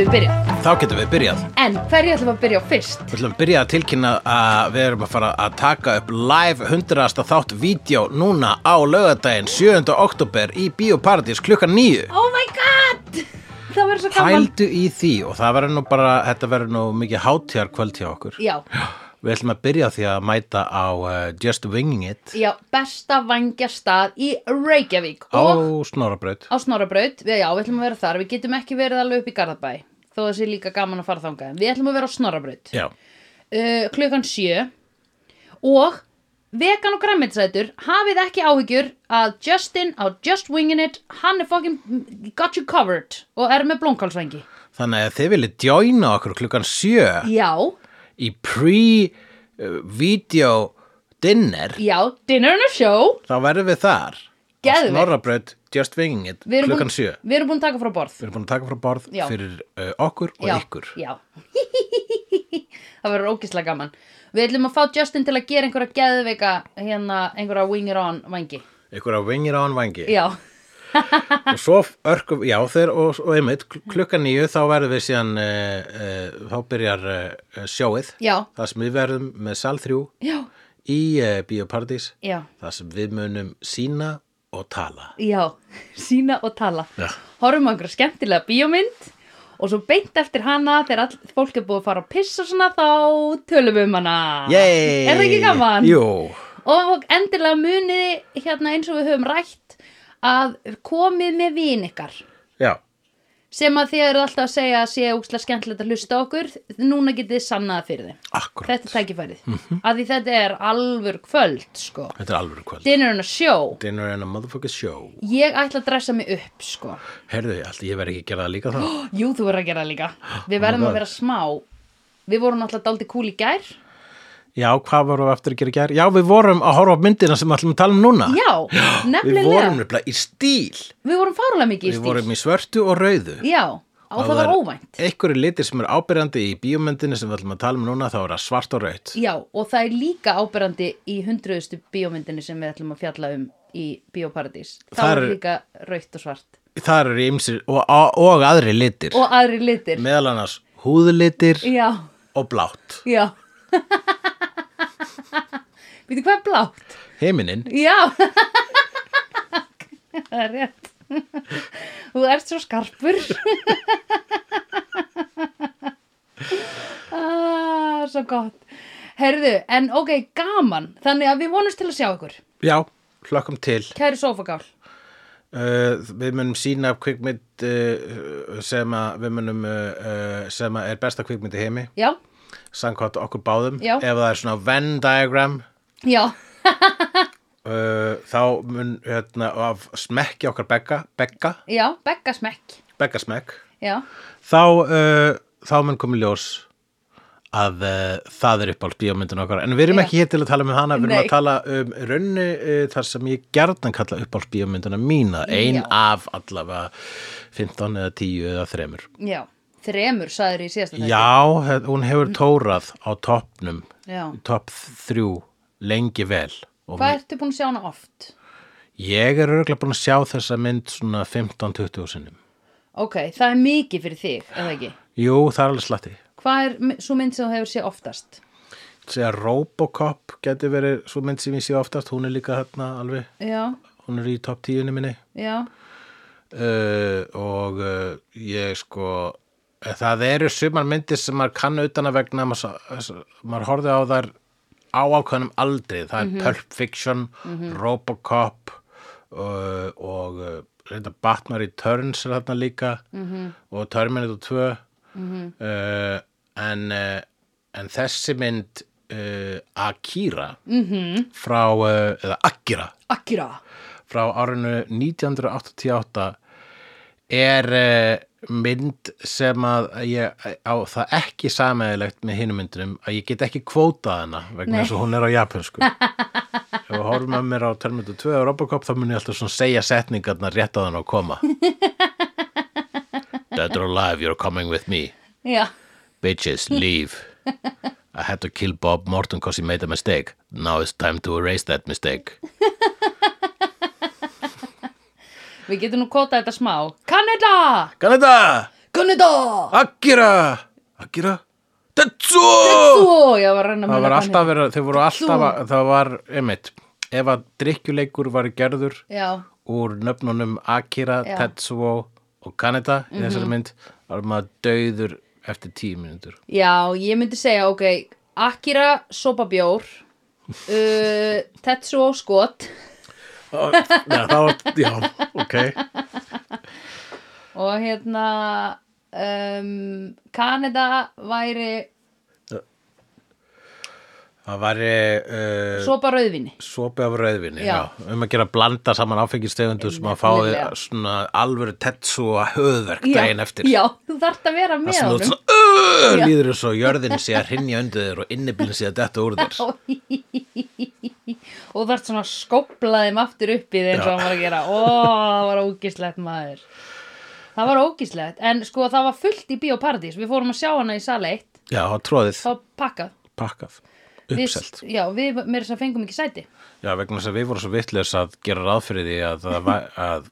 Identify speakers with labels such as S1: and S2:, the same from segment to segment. S1: þá getum við byrjað.
S2: En hverju ætlum við að byrja á fyrst?
S1: Við ætlum að byrja að tilkynna að við erum að fara að taka upp live 100. þátt vídeo núna á lögadaginn 7. oktober í Bíóparadís klukkan 9.
S2: Oh my god! Það verður svo gaman
S1: Pældu í því og það verður nú bara, þetta verður nú mikið hátíjar kvöld hjá okkur.
S2: Já,
S1: Við ætlum að byrja á því að mæta á uh, Just Winging It
S2: já, besta vangjastað í Reykjavík
S1: á
S2: og
S1: Snorabraut.
S2: á Snorabraut, við, já, við ætlum að vera þar, við getum ekki verið alveg upp í Garðabæ þó það sé líka gaman að fara þangað En Við ætlum að vera á Snorabraut
S1: Já,
S2: uh, klukkan sjö og vegan og græmmetisætur hafið ekki áhyggjur að Justin á Just Wingin' It hann er fucking got you covered og er með blómkálsvengi
S1: þannig að þið viljið djóina okkur klukkan 7
S2: já,
S1: í pre-video dinner,
S2: já, dinner and a show
S1: þá verðum við þar. Á
S2: Geðveikt.
S1: Snorabraut, Just Winging It,
S2: Við erum
S1: klukkan
S2: búin-
S1: 7.
S2: við erum búin að taka frá borð
S1: Við erum búin að taka frá borð
S2: Já.
S1: fyrir uh, okkur og
S2: já,
S1: ykkur.
S2: já. það verður ógislega gaman við ætlum að fá Justin til að gera einhverja geðveika hérna einhverja wing it on vangi
S1: Ykkur á vingir án vangi.
S2: já,
S1: Og svo örkum, já þeir og, og einmitt, kl- klukkan nýju þá verðum við síðan, uh, uh, þá byrjar uh, sjóið.
S2: já,
S1: Það sem við verðum með sal 3
S2: já,
S1: í uh, Bíóparadís.
S2: já
S1: Það sem við munum sína og tala.
S2: Já, sína og tala.
S1: Já.
S2: Horfum á einhverja skemmtilega bíómynd og svo beint eftir hana þegar all, fólk er búið að fara að pissa og svona þá tölum við um hana.
S1: Yay!
S2: Er það ekki gaman?
S1: Jú,
S2: Og endilega muniði hérna eins og við höfum rætt að komið með vín ykkar
S1: já,
S2: sem að þið eru alltaf að segja að sé úkslega skemmtilegt að hlusta á okkur, núna getið þið sannaða fyrir þeim.
S1: akkurat. Mhm.
S2: Þetta er tækifærið. Mm -hmm. Að því þetta er alvör kvöld, sko.
S1: Þetta er alveg kvöld.
S2: Dinner and a show.
S1: Dinner and a motherfucking show.
S2: Ég ætla að dressa mig upp, sko.
S1: Herðu, allt, ég verð ekki að gera það líka þá.
S2: Jú, þú verður að gera það líka. Við verðum að
S1: Oh my God.
S2: vera smá. Við vorum náttúrulega daldi kúl í gær.
S1: Já, hvað vorum við eftir að gera í gær? Já, við vorum að horfa á myndina sem við ætlum að tala um núna.
S2: Já, nefnilega.
S1: Við vorum nefnilega í stíl.
S2: við vorum fárlega mikið í
S1: Við
S2: stíl.
S1: vorum í svörtu og rauðu.
S2: Já, og það, var óvænt.
S1: Einhverju litir sem er ábyrjandi í bíómyndinni sem við ætlum að tala um núna, þá er það svart og raut.
S2: Já, og það er líka áberandi í hundruðustu bíómyndinni sem við ætlum að fjalla um í Bíóparadís. Það
S1: Þar
S2: er
S1: er-
S2: líka rautt og svart.
S1: Það eru ymsir og, og, og aðri litir.
S2: Og aðri litir.
S1: Meðal annars húðlitir
S2: Já,
S1: og blátt.
S2: já. Veitu hvað er blátt?
S1: Heiminin,
S2: Já Það er rétt Þú ert svo skarpur ah, Svo gott Herðu, en ok, gaman Þannig að við vonumst til að sjá ykkur
S1: já, hlökkum til.
S2: Kæri sofagál
S1: Uh, við munum sína kvikmynd uh, sem að við munum uh, uh, sem að er besta kvikmynd í heimi
S2: Já,
S1: samkvæmt okkur báðum
S2: Já.
S1: ef það er svona Venn diagram
S2: já,
S1: uh, þá mun hérna, af smekki okkar begga begga,
S2: já, begga smekk
S1: begga smekk
S2: Já,
S1: þá, uh, þá mun komið ljós að uh, það er uppáld bíómyndin okkar en við erum
S2: Já.
S1: ekki hér til að tala um hana við erum
S2: Nei.
S1: að tala um raunni uh, þar sem ég gerðan kalla uppáld bíómyndina mína ein
S2: Já.
S1: af allavega 15 eða 10 eða 3
S2: já Þremur sagður í síðasta þætti.
S1: Já, he- hún hefur tórað á toppnum,
S2: já.
S1: topp þrjú, lengi vel. Og
S2: Hvað ertu búin að sjá hana oft?
S1: ég er örgulega búin að sjá þessa mynd svona 15-20 sinnum.
S2: Ok, það er mikið fyrir þig, eða ekki
S1: Jú, það er alveg slatti.
S2: Hvað er mi- sú mynd sem þú hefur séð oftast?
S1: Sér Robocop geti verið svo mynd sem ég sé oftast, hún er líka þarna alveg,
S2: Já,
S1: hún er í topp tíunni minni.
S2: já
S1: Uh, og uh, ég sko, það eru sumar myndir sem maður kann utan að vegna, maður, sa- maður horfði á þær á ákveðnum aldri, það er Pulp Fiction, Robocop uh, og uh, reynda Batman Returns er þarna líka -hmm. og Terminator 2 -hmm. uh, en, uh, en þessi mynd uh, Akira -hmm. frá, uh, eða Akira
S2: Akira
S1: frá árinu 1988 er eh, mynd sem að ég á það ekki samæðilegt með hinum myndunum að ég get ekki kvótað hana vegna þess að hún er á japansku ef við horfum að mér á Terminator 2 og Robocop þá mun ég alltaf svona segja setningarna rétt að hann að koma Dead or alive, you're coming with me
S2: Já,
S1: Bitches, leave I had to kill Bob Morton because he made a mistake Now it's time to erase that mistake
S2: við getum nú kótað þetta smá Kanada!
S1: Kanada!
S2: Gunnudó!
S1: Akira Akira Tetsuo
S2: Svo, ég var að reyna að
S1: Það var
S2: muna hvað
S1: alltaf verið, þau voru alltaf að,
S2: Tetsuo.
S1: það var, einmitt, ef að drikkjuleikur var gerður
S2: hann- Já,
S1: úr nöfnunum Akira,
S2: Já. Mhm.
S1: Tetsuo og Kaneda í þessari mynd, var maður döður eftir tíu mínútur.
S2: Já, ég myndi segja, ok, Akira sopabjór, uh, Tetsuo skot
S1: Já, það var, já, ok.
S2: og hérna um, Kanada væri
S1: Það var uh,
S2: sopa rauðvinni.
S1: sopi af rauðvinni, já.
S2: Já.
S1: um að gera blanda saman áfengistegundu sem að fáði
S2: Nefnilega.
S1: svona alvöru Tetsuo höfverk daginn eftir.
S2: Já, þú þarft að vera með
S1: sem þú ert
S2: honum.
S1: svona, "Ugh", líður þess að jörðin sé að rinja undir þér og innibilin sé að detta úr þér.
S2: og þú þarft svona að skópla þeim aftur upp í þeim eins og hann var að gera ó, það var ógislegt maður það var ógislegt, en sko það var fullt í Bíóparadís, við fórum að sjá hana í sal 1
S1: Já, og tróðið,
S2: þá pakkað
S1: pakkað,
S2: við,
S1: uppselt.
S2: já, við meira þess að fengum ekki sæti
S1: Já, vegna þess að við vorum svo vitleis að gera ráð fyrir því að, það var- að,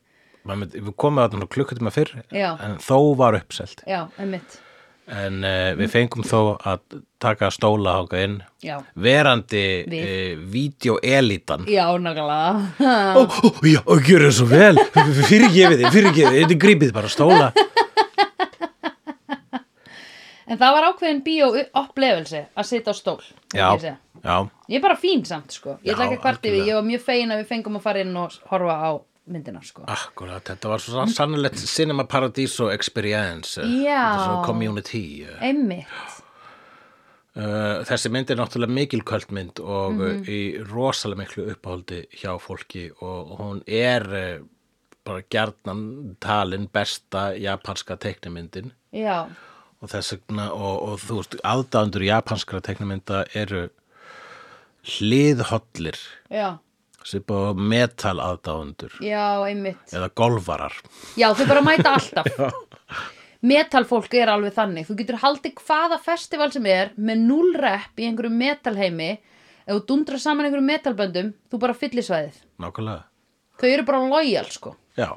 S1: að mynd, við komum að þarna klukkutíma fyrr,
S2: Já.
S1: en þó var uppselt.
S2: já, emmitt,
S1: En uh,
S2: Mm.
S1: við fengum þó að taka stóla háka inn,
S2: já
S1: verandi
S2: Við.
S1: uh, vídeoelitan.
S2: já, nákvæmlega
S1: Ó, ó, já, og gjöra svo vel, fyrirgefið þið, fyrirgefið þið, þetta grípið bara stóla.
S2: en það var ákveðin bíó upplevelse að sitja á stól myndi
S1: Já,
S2: ég segja.
S1: já,
S2: ég er bara fín samt, sko ég
S1: Já,
S2: ætla ekki að kvarti við,
S1: algjörlega.
S2: ég var mjög fegin að við fengum að fara inn og horfa á myndina, sko
S1: Akkurat, þetta var svo sannilegt Cinema Paradiso Experience eh,
S2: Já.
S1: þetta er svo community eh.
S2: emmitt
S1: Uh, þessi mynd er náttúrulega mikilkvöld mynd og mm í rosalega miklu uppáhaldi hjá fólki og hún er eh, bara gjarnan talin besta japanska teiknimyndin
S2: Já,
S1: og þess vegna og, og þú veist, aðdæðundur japanskra teiknimynda eru hliðhollir
S2: já,
S1: sem bara metal aðdæðundur
S2: já, einmitt
S1: eða golfarar
S2: Já, þau bara mæta alltaf Metalfólk er alveg þannig Þú getur haldið hvaða festival sem er með null rep í einhverju metalheimi ef þú dundrar saman einhverju metalböndum þú bara fyllir svæðið
S1: nákvæmlega
S2: Þau eru bara lojal, sko
S1: Já,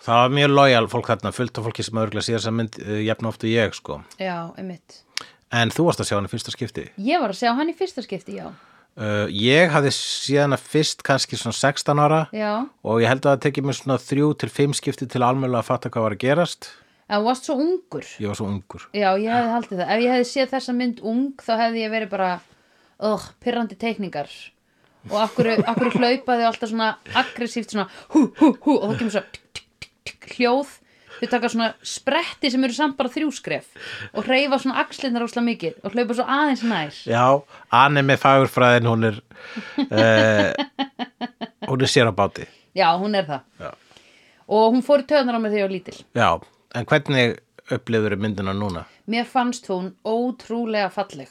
S1: það var mjög lojal fólk þarna, fullt af fólki sem örgulega sér þess að mynd uh, jafn oft og ég sko.
S2: Já, einmitt
S1: En þú varst að sjá hana í fyrsta skipti.
S2: Ég var að segja hann í fyrsta skipti, já
S1: Uh, ég hafði séð hana fyrst kannski svona 16 ára
S2: Já,
S1: og ég held að það tekið mér svona þrjú til fimm skipti til almjölu að fatta hvað var að gerast.
S2: en þú varst svo ungur
S1: Ég var svo ungur.
S2: Já, ég hefði haldið það Ef ég hefði séð þessa mynd ung þá hefði ég verið bara Ugh, pirrandi teikningar Og akkur, akkur hlaupaði alltaf svona aggressíft svona hú, hú, hú Og þá kemur svo tík, tík, tík, tík, hljóð Þau taka svona spretti sem eru samt bara þrjúskref Og hreyfa svona axlirnar ósla mikið Og hlaupa svo aðeins nær
S1: Já, anime fagurfræðin, hún er, uh, hún er sér á báti.
S2: Já, hún er það
S1: Já.
S2: Og hún fór í töðunar á mig þegar ég var lítil
S1: Já, en hvernig upplifður myndina núna?
S2: Mér fannst hún ótrúlega falleg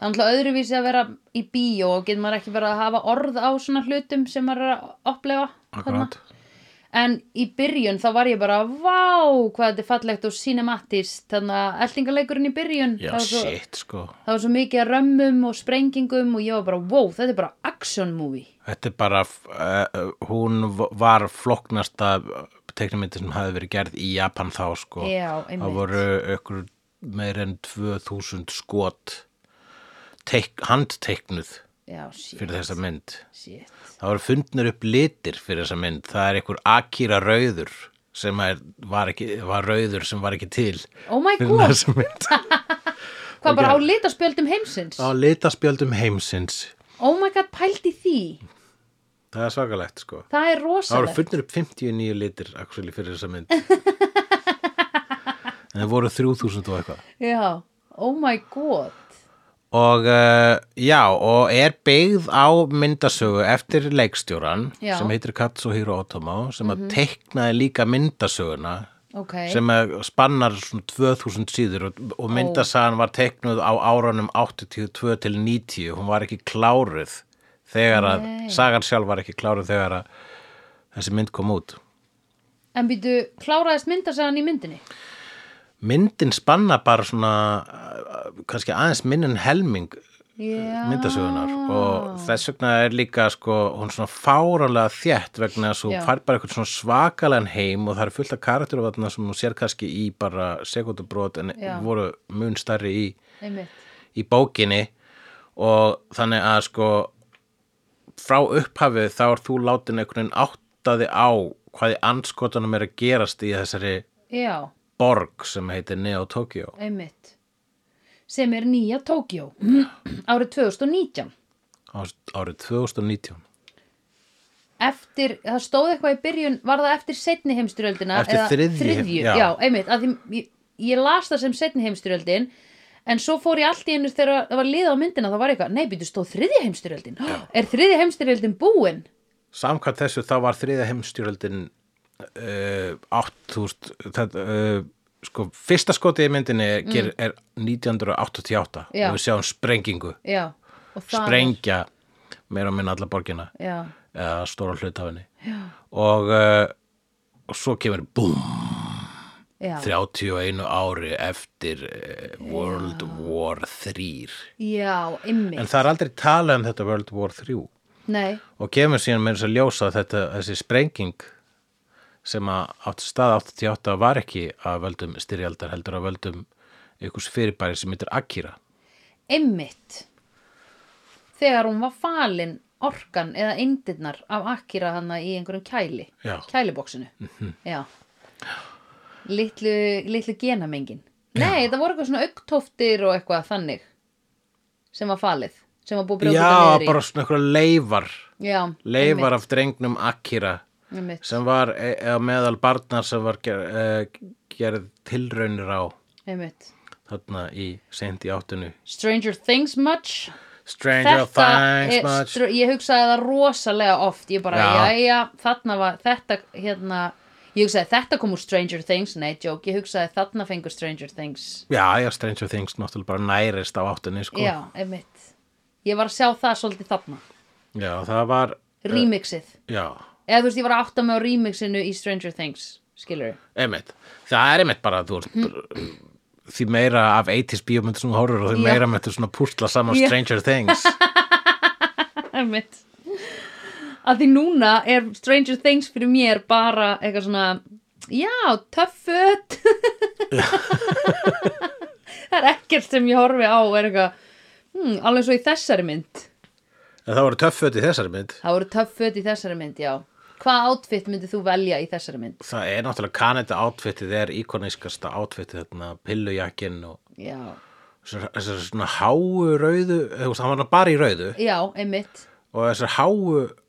S2: Það er náttúrulega öðruvísi að vera í bíó og getur maður ekki verið að hafa orð á svona hlutum sem maður er að upplefa þarna.
S1: akkurat.
S2: En í byrjun þá var ég bara, vá, hvað þetta er fallegt og cinematist, þannig að eldingaleikurinn í byrjun,
S1: Já,
S2: það, var svo,
S1: shit, sko.
S2: það var svo mikið að römmum og sprengingum og ég var bara, wow, þetta er bara action movie.
S1: Þetta er bara, uh, hún v- var floknasta teknimyndi sem hafi verið gerð í Japan þá sko.
S2: Já, einmitt.
S1: Það voru ykkur meir en 2000 skot teik, handteiknuð
S2: Já, shit,
S1: fyrir þessa mynd.
S2: shit.
S1: Það voru fundnir upp litir fyrir þessa mynd. Það er ykkur Akira rauður sem er, var, ekki, var rauður sem var ekki til
S2: Oh my
S1: fyrir
S2: god,
S1: þessa mynd.
S2: hvað bara á litaspjöldum heimsins?
S1: Á litaspjöldum heimsins.
S2: Oh my god, pældi því,
S1: Það er svakalegt sko.
S2: það er
S1: Það voru
S2: rosalegt.
S1: fundnir upp 59 litir actually, fyrir þessa mynd En það voru 3000 og eitthvað
S2: Já, oh my god,
S1: Og uh, já, og er byggð á myndasögu eftir leikstjóran
S2: Já. Mhm.
S1: sem heitir Katsuhiro Otomo sem að teiknaði líka myndasöguna
S2: ok,
S1: sem að spannar svona 2000 síður og, og myndasagan var teiknuð á árunum 82 til 90 hún var ekki kláruð þegar að, sagan sjálf var ekki kláruð þegar að þessi mynd kom út
S2: en býtu, kláraðist myndasagan í myndinni?
S1: eh, myndin spanna bara svona uh, kannski aðeins minn en helming
S2: yeah.
S1: myndasögunar og þess vegna er líka sko, hún er svona fáralega þétt vegna þess að
S2: Já.
S1: hún fær bara eitthvað svona svakalan heim og það er fullt af karakteru þarna sem hún sér kannski í bara sekundubrót en
S2: Já.
S1: voru mun stærri í,
S2: einmitt
S1: í bókinni og þannig að sko frá upphafið þá er þú látin einhvern veginn áttaði á hvaði anskotanum er að gerast í þessari
S2: já,
S1: borg sem heitir Neo Tokyo
S2: einmitt sem er nýja Tókjó árið 2019
S1: á- árið 2019
S2: eftir, það stóð eitthvað í byrjun var það eftir setni heimstyrjöldina
S1: Eftir
S2: eða
S1: þriðju, já.
S2: já. einmitt, að því ég, ég las það sem setni heimstyrjöldin en svo fór ég allt í einu þegar það var liða á myndina þá var eitthvað, nei, býtu stóð þriðja heimstyrjöldin er þriðja heimstyrjöldin búin?
S1: samkvæmt þessu þá var þriða heimstjóröldin uh, 8000 þetta, uh, sko, fyrsta skotið í myndinni ger, er 1988
S2: Mm. Já.
S1: og við sjáum sprengingu
S2: já, og það
S1: sprengja meira og minna alla borgina
S2: já,
S1: eða stóra hlutafinni og, uh, og svo kemur búm,
S2: já,
S1: 31 ári eftir uh, World War 3
S2: já, einmitt
S1: en það er aldrei talað um þetta World War 3
S2: nei,
S1: og kemur síðan með þess að ljósa að þetta, þessi sprenging sem að átt stað 88 var ekki að völdum styrjaldar heldur að völdum ykkurs fyrirbæri sem heitir Akira
S2: einmitt þegar hún var falin orkan eða eindirnar af Akira hana í einhverjum kæli
S1: Já. Mhm.
S2: kæliboksinu já litlu, litlu genamengin nei, það voru eitthvað svona augtóftir og eitthvað þannig sem var falið sem var búið að brjóta
S1: Já,
S2: þetta niður í.
S1: bara svona einhverja leifar
S2: já,
S1: leifar af drengnum Akira
S2: einmitt, einmitt,
S1: sem var e- eða meðal barnar sem var ger, e, gerð tilraunir á
S2: einmitt.
S1: þarna í seint í áttinu
S2: Stranger Things much
S1: Stranger Things
S2: er
S1: much
S2: str- ég hugsaði það rosalega oft ég bara,
S1: Já.
S2: jæja, þarna var þetta hérna, ég hugsaði þetta kom úr Stranger Things, nei, joke, ég hugsaði þarna fengur Stranger Things,
S1: Já, já, Stranger Things náttúrulega bara nærist á áttunni sko.
S2: já, einmitt ég var að sjá það svolítið þarna
S1: já, það var
S2: remixið,
S1: Já,
S2: eða þú veist, ég var að átta mig á remixinu í Stranger Things, skilur
S1: einmitt, það er einmitt bara þú,
S2: Mhm.
S1: mm. því meira af 80s bíómyndir sem þú horfur og því
S2: Já.
S1: meira með þetta svona púsla saman
S2: Já.
S1: Stranger Things
S2: einmitt að því núna er Stranger Things fyrir mér bara eitthvað svona já, töffut það er ekkert sem ég horfi á er eitthvað, hmm, alveg svo í þessari mynd
S1: en það voru töfföt í þessari mynd
S2: það voru töffut í þessari mynd, já hvaða outfit myndið þú velja í þessari mynd?
S1: það er náttúrulega Kanada átfittið er íkonískasta átfittið þarna pillujakinn og
S2: já,
S1: þessar þessar svona háu rauðu eða þú veist, hann var bara í rauðu
S2: já, einmitt
S1: og þessar háu,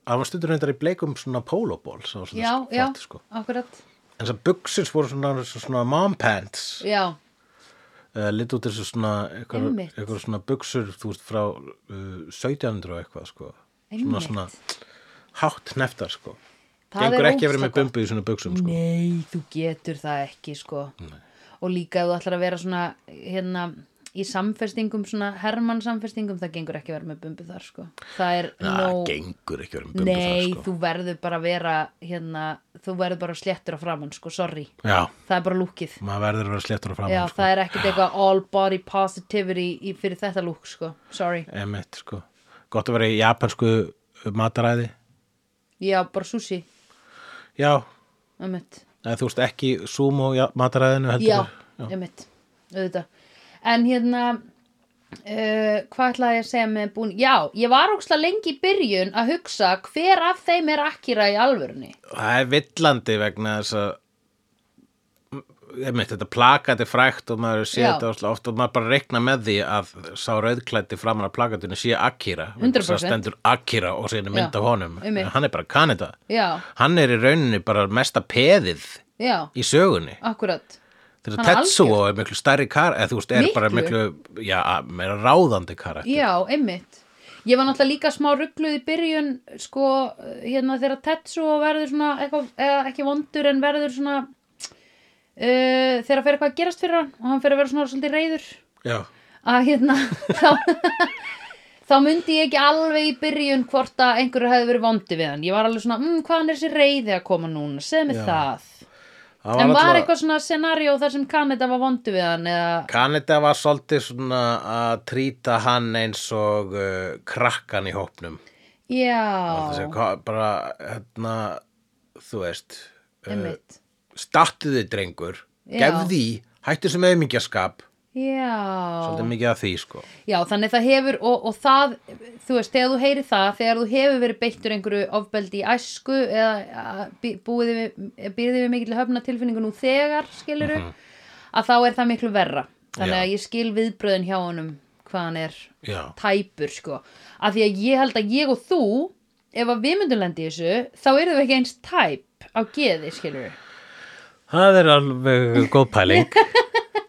S1: hann var stundur reyndar í bleikum svona pólóból sem var svona
S2: já, já,
S1: flott, sko.
S2: akkurat
S1: en þessar buxins voru svona, svona mom pants
S2: já,
S1: eða lit Eh, út þessu svona eitthvað,
S2: Einmitt.
S1: eitthvað svona buksur þú veist frá uh, 1700 og eitthvað sko. svona
S2: Einmitt.
S1: svona hátt neftar sko.
S2: Það
S1: gengur
S2: er
S1: ekki að vera með
S2: ógeðslega
S1: bumbu í svona buksum sko.
S2: Nei, þú getur það ekki sko og líka ef þú ætlar að vera svona hérna í samfestingum svona hermann samfestingum það gengur ekki að vera með bumbu þar sko það er
S1: það
S2: nóg-
S1: gengur ekki að vera með bumbu
S2: Nei,
S1: þar sko.
S2: þú verður bara að vera hérna, þú verður bara sléttur á framann sko, sorry,
S1: já,
S2: það er bara lúkið
S1: maður verður að vera sléttur á
S2: Já,
S1: framann sko.
S2: það er ekkert eitthvað all body positivity í, fyrir þetta lúk sko, sorry
S1: Emitt, sko. gott að vera í japansku eh, mataræði
S2: Já, bara sushi,
S1: já,
S2: ömmett
S1: eða, þú veist ekki sumo ja- mataræðinu heldur
S2: Já,
S1: bara.
S2: einmitt, auðvitað. En hérna, uh, hvað ætlaði ég að segja með búin? Já, ég var óksla lengi í byrjun að hugsa hver af þeim er akkira í alvörunni.
S1: það er villandi vegna þess að einmitt, þetta plakati frækt og maður sé
S2: Já.
S1: þetta óslega oft og maður bara reikna með því að sá rauðklætti framan af plakatinu sé Akira, vegna
S2: 100%.
S1: þess að stendur Akira og sé henni mynd
S2: Já,
S1: af honum
S2: einmitt.
S1: En hann er bara Kanada,
S2: Já,
S1: hann er í rauninni bara mesta peðið
S2: já,
S1: í sögunni
S2: akkurat.
S1: þegar
S2: Hann er
S1: Tetsuo er miklu stærri kar eða þú veist, er bara miklu,
S2: Miklu.
S1: já, meira ráðandi karakter
S2: Já, einmitt. Ég var náttúrulega líka smá ruggluð í byrjun, sko, hérna þegar Tetsuo verður svona, eitthvað, eða ekki vondur en verður svona, uh, þegar fer eitthvað að gerast fyrir hann og hann fer að vera svona svolítið reyður.
S1: Já.
S2: að hérna þá, þá myndi ég ekki alveg í byrjun hvort að "Mm, einhverju hefði verið vondi við hann ég var alveg svona, mmm, hvaðan er þessi reyði að koma núna segð mér
S1: Já.
S2: það
S1: Hann
S2: En var
S1: náttúrulega-
S2: eitthvað svona scenario þar sem Kaneda var vondu við hann eða
S1: Kaneda var svolítið svona að trýta hann eins og uh, krakkan í hópnum Þess
S2: Já,
S1: að hvað- bara, hérna, þú veist
S2: einmitt
S1: stattu þið drengur,
S2: Já.
S1: gefðu því hættu sem auðmingjaskap
S2: Já,
S1: Eh, svolítið mikið að því sko
S2: já, þannig það hefur og, og það, þú veist, þegar þú heyrir það þegar þú hefur verið beittur einhverju ofbeldi í æsku eða a, bí- búið við, býrði við mikill höfna tilfinningu nú þegar, skiluru að þá er það miklu verra þannig
S1: Já.
S2: að ég skil viðbröðin hjá honum hvað hann er
S1: Já,
S2: tæpur, sko af því að ég held að ég og þú ef að við myndum lendi í þessu þá erum við ekki eins tæp á geði, skiluru
S1: það er alveg góð pæling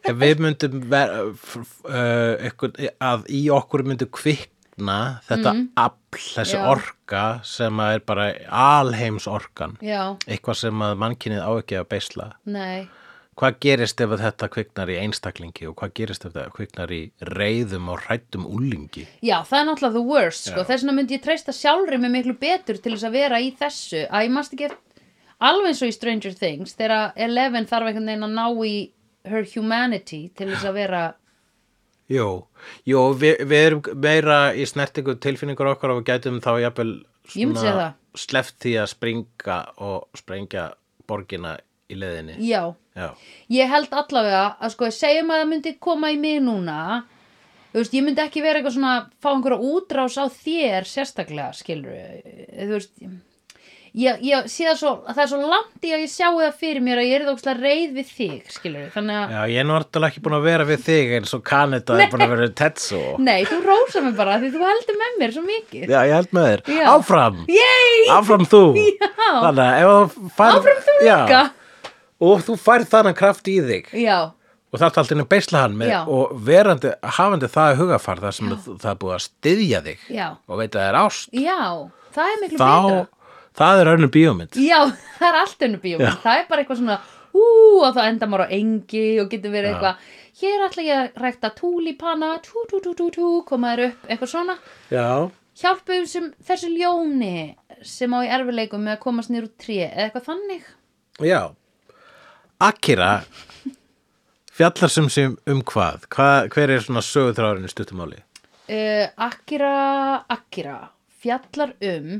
S1: ef við myndum ver, f, f, uh, eitthvað, að í okkur myndum kvikna þetta afl, þessi
S2: Mhm. Já.
S1: orka sem að er bara alheims orkan
S2: Já,
S1: eitthvað sem að mannkynið á ekki að beisla
S2: nei
S1: hvað gerist ef að þetta kviknar í einstaklingi og hvað gerist ef þetta kviknar í reyðum og hrættum úlingi
S2: Já, það er náttúrulega the worst, sko. Þess vegna myndi ég treysta sjálfri mig miklu betur til þess að vera í þessu. Að ég mást ekki alveg eins og í Stranger Things, þegar Eleven þarf einhvern veginn að ná í her humanity til þess að vera...
S1: Jú, jú við, við erum meira í snertingu tilfinningur okkar og við gætum þá jafnvel
S2: Ég myndi segja það.
S1: sleppt því að springa og sprengja borgina í leiðinni.
S2: Já,
S1: Já,
S2: ég held allavega að sko, segjum að það myndi koma í mig núna, þú veist, ég myndi ekki vera eitthvað svona, fá einhverja útrás á þér sérstaklega, skilur þú veist... Ég, ég sé það svo, það er svo langt í að ég sjáu það fyrir mér að ég er það ókslega reið við þig, skilur þannig að
S1: Já ég er náttúrulega ekki búin að vera við þig eins og Kanada er búin að vera við Tetsu.
S2: Nei, þú rósa mig bara því þú heldur með mér svo mikið.
S1: Já, ég held með þér.
S2: Já.
S1: Áfram!
S2: Yay!
S1: Áfram þú!
S2: Já.
S1: Þannig að ef þú fær...
S2: Áfram þú líka!
S1: Og þú færð þannig kraft í þig.
S2: Já,
S1: og það er alltaf að beisla hann með,
S2: Já.
S1: og verandi, hafandi það í hugafar þar sem það er búið að styðja þig
S2: Já.
S1: og veit að það er ást
S2: já, það er miklu betra.
S1: þá, það er önnur bíómynd
S2: Já, það er allt önnu bíómynd.
S1: Já.
S2: Það er bara eitthvað svona, ú, og þá endar maður á engi og getur verið eitthvað, hér ætla ég að rækta túlipana, tú, tú, tú, tú, tú, koma þér upp, eitthvað svona.
S1: Já,
S2: Hjálpum sem, þessu ljóni sem á í erfileikum með að komast niður úr tré, eða eitthvað þannig.
S1: já Akira fjallar sem sem um hvað, hvað hver er svona sögutráðurinn í stuttumáli?
S2: uh, Akira Akira fjallar um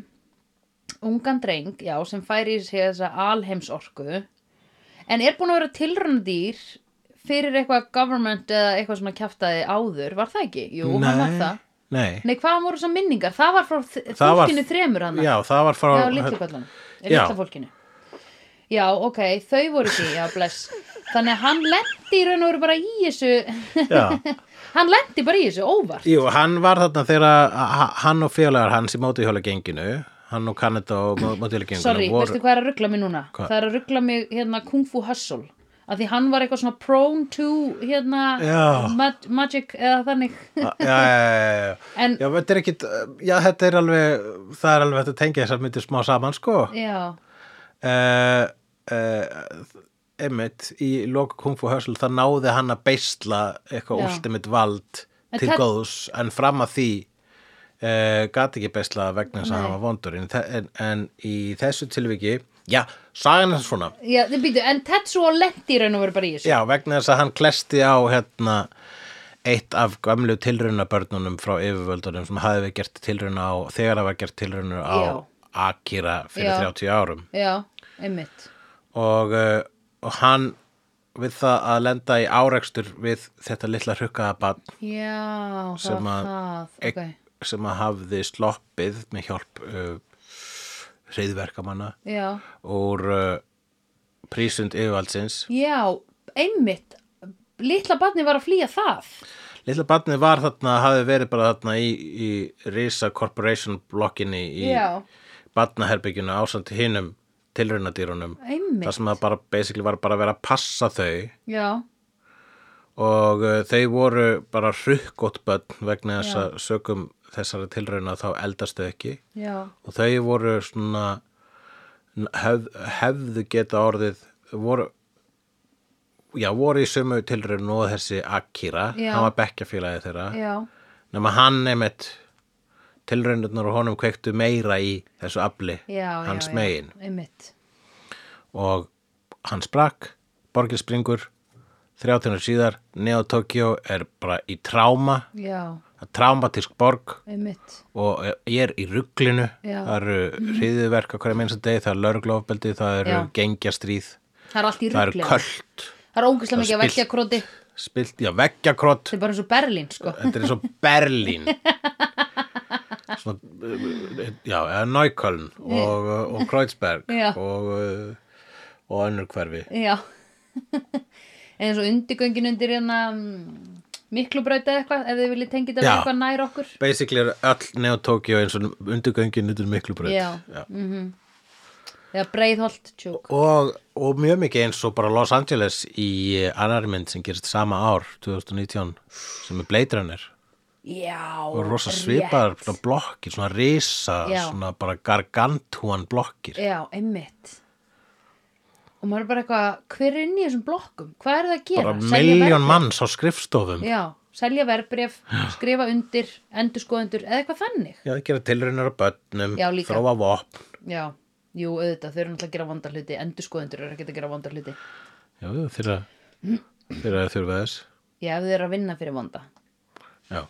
S2: ungan dreng, já, sem fær í sig þessa alheimsorku en er búin að vera tilröndýr fyrir eitthvað government eða eitthvað svona kjaftaði áður, var það ekki? Jú, hann var það.
S1: Nei,
S2: Nei, hvað voru þessar minningar? Það var frá
S1: Það var-
S2: þúlkinu þremur hann.
S1: já, það var frá
S2: Já, litlu kvöldan,
S1: Já.
S2: litla fólkinu Já, ok, þau voru ekki, já, bless Þannig að hann lendi í raun og veru bara í þessu
S1: Já.
S2: Hann lendi bara í þessu, óvart
S1: Jú, hann var þarna þegar að- að- hann og félagar hans í mótihjóla genginu hann og Kanada og mótihjóla genginu
S2: Sorry,
S1: voru...
S2: veistu hvað er að ruggla mig núna?
S1: Hvað?
S2: Það er að ruggla mig hérna Kung Fu Hustle að því hann var eitthvað svona prone to hérna
S1: Já.
S2: mag magic eða þannig
S1: Ah, já, já, já, já.
S2: En-
S1: já, þetta er ekkit, já, þetta er alveg, það er alveg hægt að tengja þessar myndir smá saman, sko.
S2: Já,
S1: Uh, uh, einmitt, í loka Kung Fu Hustle, það náði hann að beisla eitthvað
S2: Já.
S1: últimitt vald
S2: En
S1: til
S2: það-
S1: góðs, en fram að því uh, gat ekki beisla vegna þess að
S2: Nei.
S1: hann var vondur. En, þe- en, en í þessu tilviki, já, sagan er svona,
S2: já þið býtu, en Tetsuo lendi í raun og veru bara í þessu
S1: já, vegna þess að hann klesti á, hérna, eitt af gamlu tilraunabörnunum frá yfirvöldunum sem hafði verið gert tilraun á þegar það var gert tilraunur á
S2: Já.
S1: Akira fyrir
S2: Já.
S1: 30 árum
S2: Já, einmitt
S1: og, uh, og hann við það að lenda í árekstur við þetta litla hrukkaða barn
S2: Já, það
S1: Sem
S2: var
S1: að- e-
S2: það
S1: ek-
S2: okay.
S1: sem að hafði sloppið með hjálp uh, reyðverkamanna
S2: Já,
S1: úr uh, prísund yfirvaldsins
S2: já, einmitt Litla barni var að flýja það
S1: Lilla barnið var þarna, hafði verið bara þarna í, í Risa Corporation blokkinni í
S2: Já.
S1: barnaherbygginu ásand hinum tilraunadýrunum.
S2: Einmitt,
S1: Það sem það bara, basically, var bara að vera að passa þau
S2: já,
S1: og uh, þau voru bara hrukkótt börn vegna þess
S2: Já.
S1: að sögum þessara tilrauna þá eldast þau ekki
S2: já
S1: og þau voru svona hef, hefðu geta orðið voru já, voru í sömu tilraun og þessi Akira,
S2: Já.
S1: hann var bekkjafélagi þeirra
S2: Já,
S1: nema hann einmitt tilraunirnar og honum kveiktu meira í þessu afli
S2: já, já
S1: hans
S2: já,
S1: megin
S2: Einmitt,
S1: og hann sprakk, borgir springur 30 síðar, Neo Tokyo er bara í tráma
S2: já,
S1: traumatísk borg
S2: einmitt
S1: og ég er í rugglinu
S2: Já.
S1: það eru hriðiverk á hverja minnsta degi það er lörglofbeldi, það eru
S2: Já.
S1: gengjastríð
S2: það er allt í
S1: það eru
S2: rugli
S1: köld
S2: það er ógæslega
S1: það er
S2: mikið að
S1: spillt.
S2: velja króti þetta
S1: spilt, já, veggjakrott
S2: er bara eins og Berlín sko
S1: þetta er eins og Berlín svona eh, já, eða Neukölln og, og Kreuzberg
S2: Já.
S1: og eh, og önnur hverfi
S2: já eins og undirgöngin undir hérna mm, miklubrauta eða eitthvað ef þið viljið tengja þetta við
S1: Já.
S2: eitthvað nær okkur
S1: basically er öll Neo Tokyo eins og undirgöngin yfir miklu bröð
S2: Já. eða breiðholt tjók
S1: og, og mjög mikið eins og bara Los Angeles í annari mynd sem gerist sama ár 2019 sem er Blade Runner
S2: já,
S1: og rosa
S2: rétt.
S1: svipaðar svona blokkir, svona risa
S2: Já.
S1: svona bara gargantúan blokkir
S2: já, einmitt og maður er bara eitthvað hver er inn í þessum blokkum, hvað er það að gera
S1: bara
S2: Selja
S1: miljón
S2: verðbréf?
S1: manns á skrifstofum já,
S2: já, selja verbref, skrifa undir endurskoðendur eða eitthvað þannig
S1: það gera tilraunar á börnum
S2: Já, líka.
S1: þróa vopn
S2: já, jú, auðvitað, þau eru náttúrulega að gera vondar hluti endurskoðendur eru ekki að gera vondar hluti
S1: já, þeirra, þeirra er þurfa þess
S2: já, ef þau eru að vinna fyrir vonda
S1: já,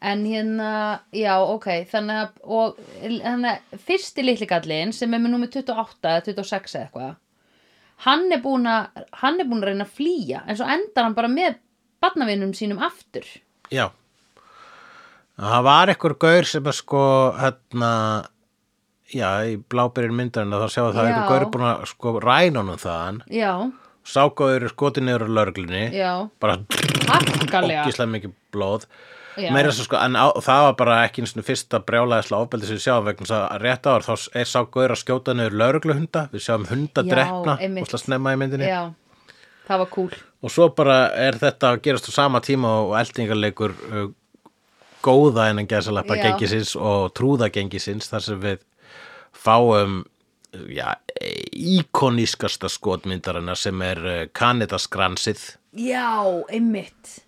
S2: En hérna, já, ok, þannig að, og, þannig að fyrsti litli gallin sem er með númer 28 eða 26 eða eitthvað, hann er búin að, hann er búin að reyna að flýja, en svo endar hann bara með barnavinum sínum aftur.
S1: já það var ekkur gaur sem er sko hérna já, í blábyrjun myndarinn þá sjá að það er
S2: Já.
S1: ekkur gaur búin að sko rænunum þaðan
S2: Já,
S1: ságóður er skotið niður á lörglunni
S2: já,
S1: bara
S2: harkalega.
S1: ógislega mikið blóð
S2: Já.
S1: meira svo sko, en á, það var bara ekki eins og fyrsta brjálæðislega ofbeldi sem við sjáum vegna þess að rétt áður þá er sá gaur að skjóta niður lögregluhunda, við sjáum hunda
S2: Já,
S1: drefna
S2: einmitt.
S1: og snemma í myndinni
S2: Já, það var kúl.
S1: og svo bara er þetta að gerast á sama tíma og eldingarleikur uh, góða innan geðsalappa
S2: Já.
S1: gengisins og trúða gengisins þar sem við fáum já, íkonískasta skotmyndarana sem er uh, kanidaskransið
S2: Já, einmitt.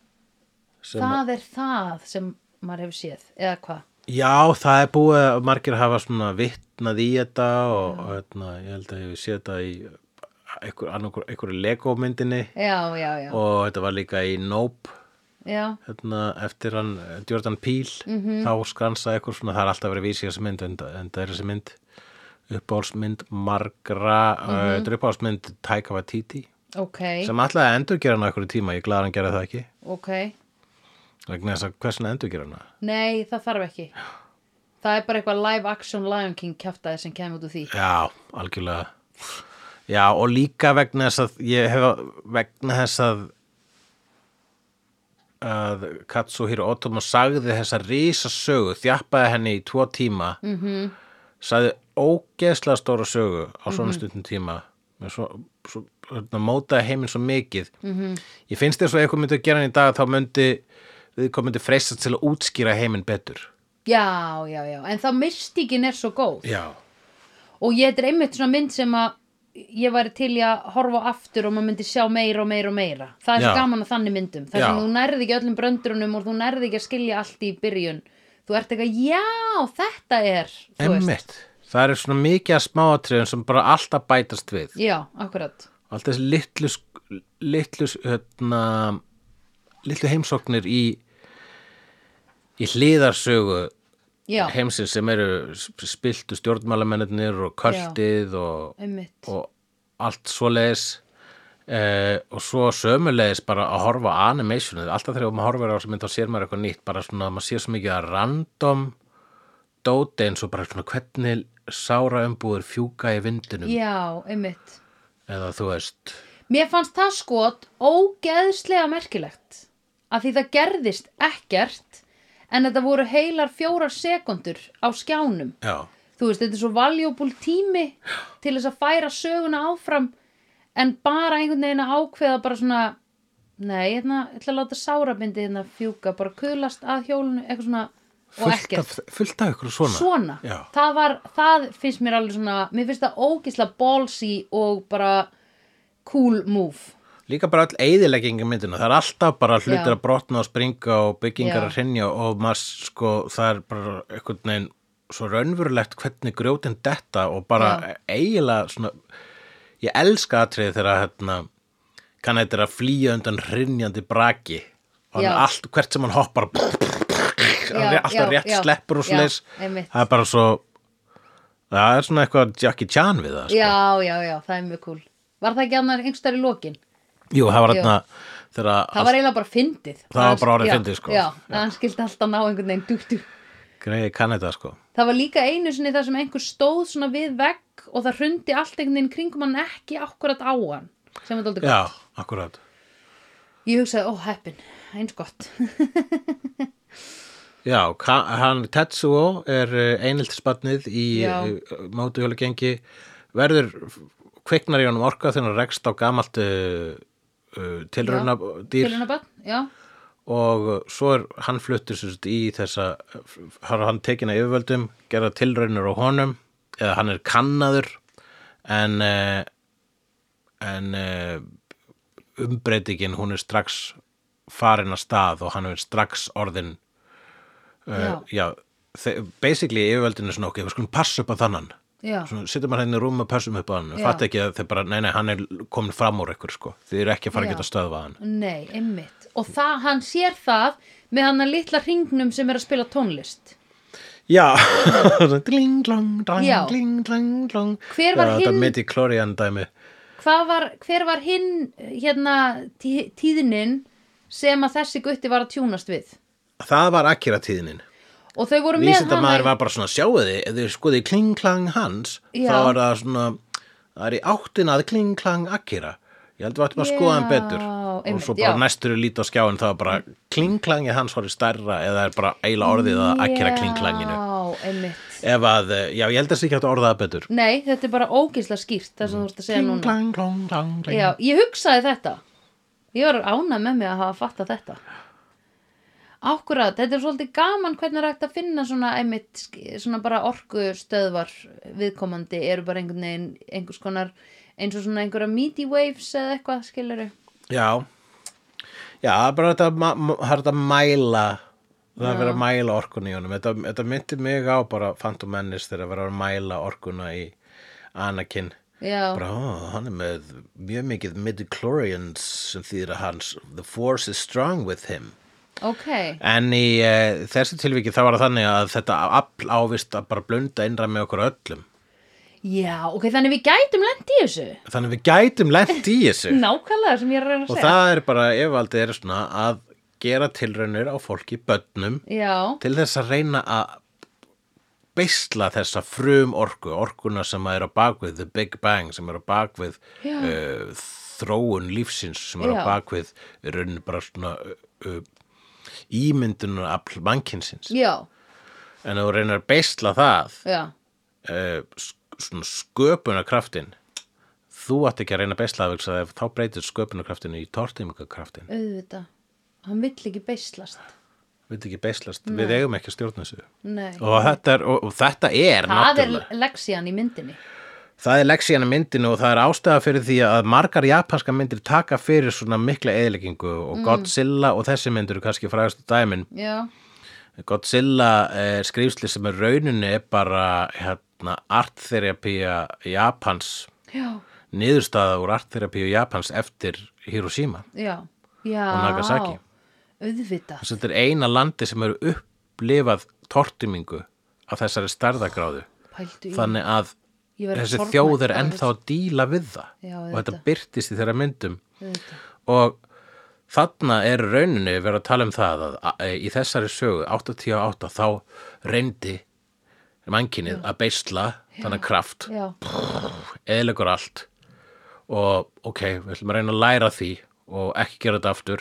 S1: sem
S2: það er það sem maður hefur séð, eða hvað?
S1: Já, það er búið að margir hafa svona vittnað í þetta og og hérna, ég held að ég sé þetta í einhver, annarkur, einhverju Lego myndinni
S2: Já, já, já,
S1: og þetta var líka í Nope
S2: já,
S1: hérna, eftir hann eh, Jordan Peele -hmm. þá skransaði eitthvað svona, það er alltaf verið að vísi þessi mynd en, en það er þessi mynd uppáhalsmynd margra mm -hmm. þetta er uppáhalsmynd Taika Waititi
S2: ok,
S1: sem alltaf að endurgera hana einhverju tíma, ég glæði hann gera það ekki
S2: ok.
S1: vegna þess að hversna endurgera hana
S2: Nei, það þarf ekki. Það er bara eitthvað live action Lion King kjaftaði sem kemur út úr því.
S1: Já, algjörlega Já, og líka vegna þess að ég hef vegna þess að að Katsuhiro Otomo sagði þessa risasögu, þjappaði henni í tvo tíma -hmm. sagði ógeðslega stóra sögu á svona stundum tíma með svo, svo, hérna, mótaði heiminn svo mikið -hmm. ég finnst þess að eitthvað myndi að gera hann í dag þá myndi við komandi freistast til að útskýra heiminn betur
S2: Já, já, já. En þá mystíkin er svo góð.
S1: Já,
S2: Og ég þetta er einmitt svona mynd sem að ég væri til í að horfa á aftur og maður myndi sjá meira og meira og meira. Það er svo
S1: Já.
S2: gaman að þannig myndum. Það
S1: Já.
S2: sem þú nærði ekki öllum bröndurunum og þú nærði ekki að skilja allt í byrjun. Þú ert eitthvað, já, þetta er, þú
S1: Emmitt, það eru svona mikið að smáatriðum sem bara alltaf bætast við
S2: Já, akkurat.
S1: allt þessi litlu sk- litlu, hérna, litlu heimsóknir í í hliðarsögu
S2: Já,
S1: heimsins sem eru sp- spilltu stjórnmálamennir og kvöldið og,
S2: einmitt.
S1: og allt svoleiðis eh, og svo sömuleiðis bara að horfa á animationið, alltaf þegar maður horfir á þessu mynd þá sér maður eitthvað nýtt, bara svona maður sér svo mikið að random dóti eins og bara svona hvernig sára umbúður fjúka í vindinum
S2: Já, einmitt.
S1: eða þú veist
S2: Mér fannst það skot ógeðslega merkilegt að því það gerðist ekkert en þetta voru heilar fjórar sekundur á skjánum.
S1: já,
S2: Þú veist, þetta er svo valjúbúl tími til þess að færa söguna áfram en bara einhvern veginn að ákveða bara svona Nei, hérna, ég ætla að láta sárabindi hérna fjúka, bara kulast að hjólinu, eitthvað svona og
S1: fullt
S2: ekkert.
S1: af, fullt af ykkur svona
S2: Svona,
S1: já,
S2: það var, það finnst mér alveg svona, mér finnst það ógisla ballsy og bara cool move.
S1: líka bara all eyðilegging í myndinu, það er alltaf bara hlutir
S2: Já.
S1: að brotna og springa og byggingar
S2: Já.
S1: að hrynja og maður sko, það er bara einhvern veginn svo raunverulegt hvernig grjótin detta og bara eiginlega svona ég elska atrið þegar að, hérna, kann þetta er að flýja undan hrinnjandi braki og hann
S2: Já.
S1: er allt, hvert sem hann hoppar hann er alltaf
S2: já,
S1: rétt
S2: já,
S1: sleppur og
S2: já,
S1: svoleiðis
S2: einmitt.
S1: það er bara svo það er svona eitthvað Jackie Chan við það sko.
S2: Já, já, já, það er mjög cool. Var það ekki annar einhverstaðar í lokin?
S1: jú, það var
S2: Jú.
S1: hérna þegar
S2: Það
S1: að
S2: var eiginlega bara fyndið.
S1: Það var bara orðið
S2: Já,
S1: fyndið, sko.
S2: Já, já. hann skildi alltaf ná einhvern veginn dúk, dúk.
S1: greiði kann þetta sko
S2: Það var líka einu sinni þar sem einhver stóð svona við vegg og það hrundi allt einhvern veginn kringum hann ekki akkurat á hann. Sem er dálítið
S1: já,
S2: gott.
S1: akkurat
S2: Ég hugsaði, ó, heppin, eins gott.
S1: Já, ka- hann Tetsuo er einhildspatnið í
S2: Já.
S1: mótuhjólagengi verður kviknar í honum orka þegar hann rekst á gamalt uh, uh, tilrauna dýr
S2: Tilraunabarn, já,
S1: og svo er hann fluttur sérst í þessa, har hann tekin að yfirvöldum, gera tilraunur á honum eða hann er kannaður en uh, en uh, umbreytingin hún er strax farin að stað og hann er strax orðin
S2: já,
S1: já, þe- basically yfirvöldinu svona okkur, við skulum passa upp á þannan
S2: já,
S1: svona, sittum hann hérna í rúm og passum upp á hann
S2: Já.
S1: fatt ekki að þeir bara, nei, nei, hann er komin fram úr ykkur, sko, þið eru ekki að fara að
S2: Já.
S1: geta stöðvað hann
S2: nei, einmitt. Og það, hann sér það með hann að litla hringnum sem er að spila tónlist.
S1: Já, dling, dlang, dlang,
S2: Já.
S1: dling, dlang, dlang
S2: Hver var
S1: Já,
S2: hinn-
S1: Þetta mitt í Klorian dæmi
S2: Hvað var, hver var hinn, hérna, tí, tíðnin sem að þessi gutti var að tjúnast við?
S1: Það var Akira tíðinin
S2: Og þau voru með hana...
S1: Vísindamaður
S2: í-
S1: var bara svona, sjáu þið, ef þið skoði kling-klang hans,
S2: Já.
S1: þá var það svona, það er í áttin að kling-klang Akira. Ég held við ættum að
S2: Já,
S1: skoða hann betur. og
S2: einmitt,
S1: svo bara
S2: já.
S1: næstur er lítið á skjáin, þá er bara kling-klangið hans horið stærra eða er bara eila orðið að Akira kling-klanginu.
S2: Já, einmitt.
S1: Ef að, eh, já, ég held að það sé ekki hægt að orða það betur.
S2: Nei, þetta er bara ógisla skýrt það sem þú ert að segja núna.
S1: Kling-klang, kling-klang,
S2: Já,
S1: kling.
S2: ég hugsaði þetta. Ég var ánað með mig að hafa fattað þetta. Akkurat, þetta er svolítið gaman hvernig er hægt að finna svona einmitt, sk- svona bara orkustöðvar viðkomandi eru bara einhvern veginn, einhvers konar, eins og svona einhverja meaty waves eða eitthvað, skilur
S1: Já, já, það er bara þetta, ma- ma- það er þetta mæla, það er verið að mæla orkunni í honum. Þetta, þetta myndi mig á bara Phantom Menace þegar að vera að mæla orkuna í Anakin.
S2: Já,
S1: Bara, ó, hann er með mjög mikið midichlorians sem þýðir að hans, the force is strong with him.
S2: ok,
S1: En í uh, þessu tilviki þá var það þannig að þetta afl ávist að bara blunda innra með okkur öllum.
S2: já, ok, þannig við gætum lent í þessu,
S1: Þannig við gætum lent í þessu.
S2: nákvæmlega sem ég er að reyna að
S1: Og
S2: segja,
S1: það er bara, ef aldrei er svona að gera tilraunir á fólki, börnum,
S2: já,
S1: til þess að reyna að beisla þessa frum orku, orkuna sem er á bakvið The Big Bang, sem er á bakvið
S2: Já.
S1: uh, þróun lífsins, sem er
S2: Já.
S1: á bakvið raun bara svona uh, ímyndunar afl mannkinsins.
S2: já,
S1: En ef þú reynar að beisla það,
S2: já,
S1: uh, svona sköpunarkraftin, þú átt ekki að reyna að beisla það, vegna þess að þá breytir sköpunarkraftin í tortímingakraftin.
S2: auðvitað, hann vill ekki beislast,
S1: Við veitum ekki beislast, við eigum ekki að stjórna þessu.
S2: nei,
S1: Og þetta er, og, og þetta er
S2: það er
S1: náttúrulega.
S2: leksían í myndinni,
S1: Það er leksíana myndinu og það er ástæða fyrir því að margar japanska myndir taka fyrir svona mikla eðileggingu og
S2: Mm.
S1: Godzilla og þessi myndir eru kannski frægastu dæmin.
S2: já,
S1: Godzilla er skrifsli sem er rauninni er bara hérna, artþerapía Japans,
S2: já,
S1: niðurstaða úr artþerapíu Japans eftir Hiroshima.
S2: já, já,
S1: Nagasaki.
S2: auðvitað,
S1: Þess að þetta er eina landi sem eru upplifað tortimingu af þessari stærðagráðu.
S2: pældu í,
S1: Þannig að
S2: Ég verð
S1: þessi
S2: sorgmætt
S1: þjóð er
S2: bara
S1: ennþá að díla við það
S2: Já,
S1: og
S2: auðvitað.
S1: þetta byrtist í þeirra myndum
S2: auðvitað,
S1: og þarna er rauninni verið að tala um það að a- í þessari sögu 88 þá reyndi mannkinnið að beisla þannig kraft,
S2: já,
S1: eðilegur allt og ok, við ætlum að reyna að læra því og ekki gera þetta aftur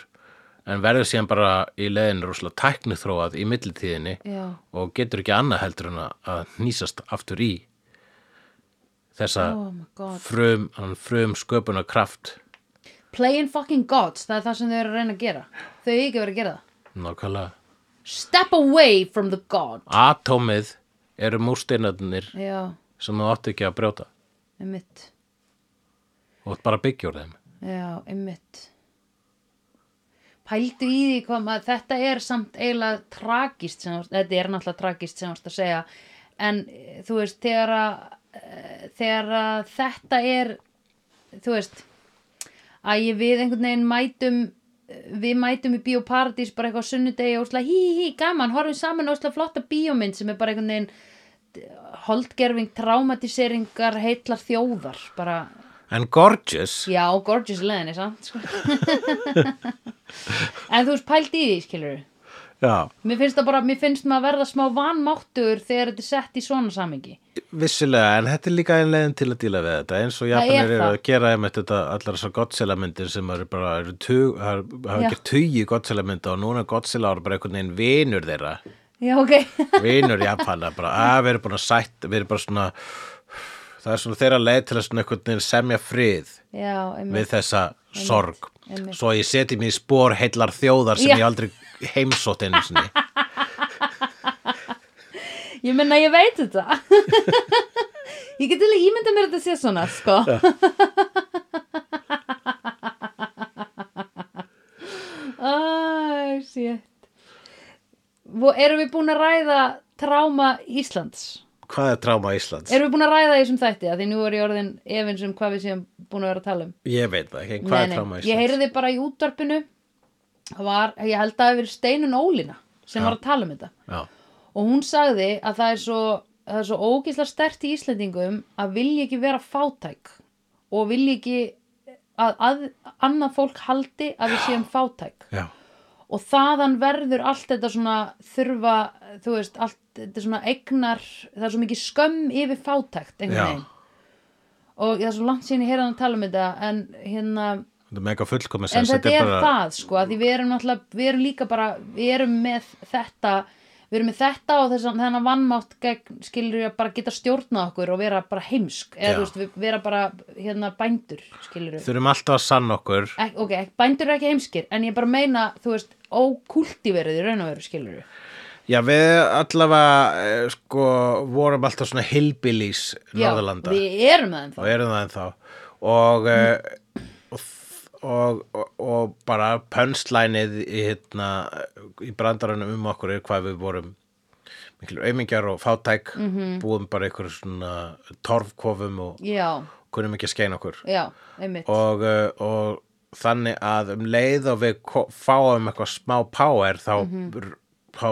S1: en verður síðan bara í leiðinu rosalega tækniþróað í millitíðinni
S2: já,
S1: og getur ekki annað heldur en að- að nýsast aftur í þessa
S2: oh my god,
S1: frum, hann frum sköpunarkraft
S2: playing fucking gods, það er það sem þau eru að reyna að gera, þau eru ekki verið að gera það,
S1: nákvæmlega
S2: step away from the god,
S1: atómið eru múrsteinarnir
S2: já,
S1: sem þú átt ekki að brjóta
S2: einmitt,
S1: og þú bara byggjur þeim
S2: Já, einmitt. Pældu í því hvað maður, þetta er samt eiginlega tragist, sem, þú- þetta er náttúrulega tragist sem þú varst að segja, en eh, þú veist, þegar að, eh, þegar að þetta er þú veist að ég við einhvern veginn mætum við mætum í bíóparadís bara eitthvað á sunnudegi og óslega hí hí hí gaman horfum saman á óslega flotta bíómynd sem er bara einhvern veginn d- holdgerfing, traumatiseringar heillar þjóðar bara,
S1: En gorgeous,
S2: já, gorgeous leðinni samt sko. en þú veist pælt í því skilur
S1: já,
S2: mér finnst það bara, mér finnst maður að verða smá vanmáttur þegar þetta er sett í svona samingi
S1: vissulega, en þetta er líka ein leiðin til að díla við þetta, eins og
S2: er
S1: Japanir eru
S2: það.
S1: að gera einmitt þetta allar þessar Godzilla myndir sem eru bara, eru tug, hafa
S2: Já.
S1: ekki tugi Godzilla mynda og núna er Godzilla eru bara einhvern veginn vinur þeirra,
S2: já, ok
S1: vinur Japana, bara að við erum búin að sætt, við erum bara svona, það er svona þeirra leið til að svona einhvern veginn semja frið
S2: Já, einmitt.
S1: við þessa sorg.
S2: einmitt.
S1: Svo ég seti mér í spór heillar þjóðar sem
S2: Já.
S1: ég aldrei heimsótt einu sinni.
S2: Ég menna ég veit þetta Ég get alveg ímyndað mér að þetta sé svona sko. Æ, shit Vó, Erum við búin að ræða tráma Íslands?
S1: Hvað er tráma Íslands?
S2: Erum við búin að ræða því sem þætti? Af Því nú er ég orðin efins um hvað við séum búin að vera að tala um
S1: Ég veit það ekki, en hvað er tráma Íslands?
S2: Ég heyrði bara í útvarpinu var, Ég held að það hafi verið Steinun Ólína sem var að tala um þetta
S1: Já,
S2: og hún sagði að það er svo það er svo ógisla stert í Íslendingum að vilja ekki vera fátæk og vilja ekki að, að annað fólk haldi að við séum fátæk
S1: já,
S2: og þaðan verður allt þetta svona þurfa, þú veist, allt þetta svona eignar, það er svo mikið skömm yfir fátækt
S1: Já.
S2: einhvern veginn og það er svo langt síðan ég heyra hann að tala um þetta en hérna
S1: þetta er mega fullkomis
S2: en þetta er það sko að því við erum náttúrulega, við erum líka bara við erum með þetta við erum með þetta og þess að þennan vannmátt gegn skilur við að bara geta stjórna okkur og vera bara heimsk eða
S1: Já.
S2: þú veist, við- vera bara hérna bændur skilur við
S1: Þurfum alltaf að sanna okkur
S2: Ek, ok, ek- bændur eru ekki heimskir en ég bara meina, þú veist, ókultiverið í raun og veru skilur við
S1: Já, við allavega eh, sko, vorum alltaf svona hillbillies Norðurlanda
S2: við erum það ennþá
S1: og erum það ennþá og, mm. og, og, og, og bara pönslænið í, hérna, í brandaranum um okkur er hvað við vorum miklu aumingjar og fátæk búum bara einhverju svona torfkofum og
S2: já,
S1: kunnum ekki að skeina okkur
S2: já, einmitt
S1: og, uh, og þannig að um leið og við ko- fáum eitthvað smá power þá, þá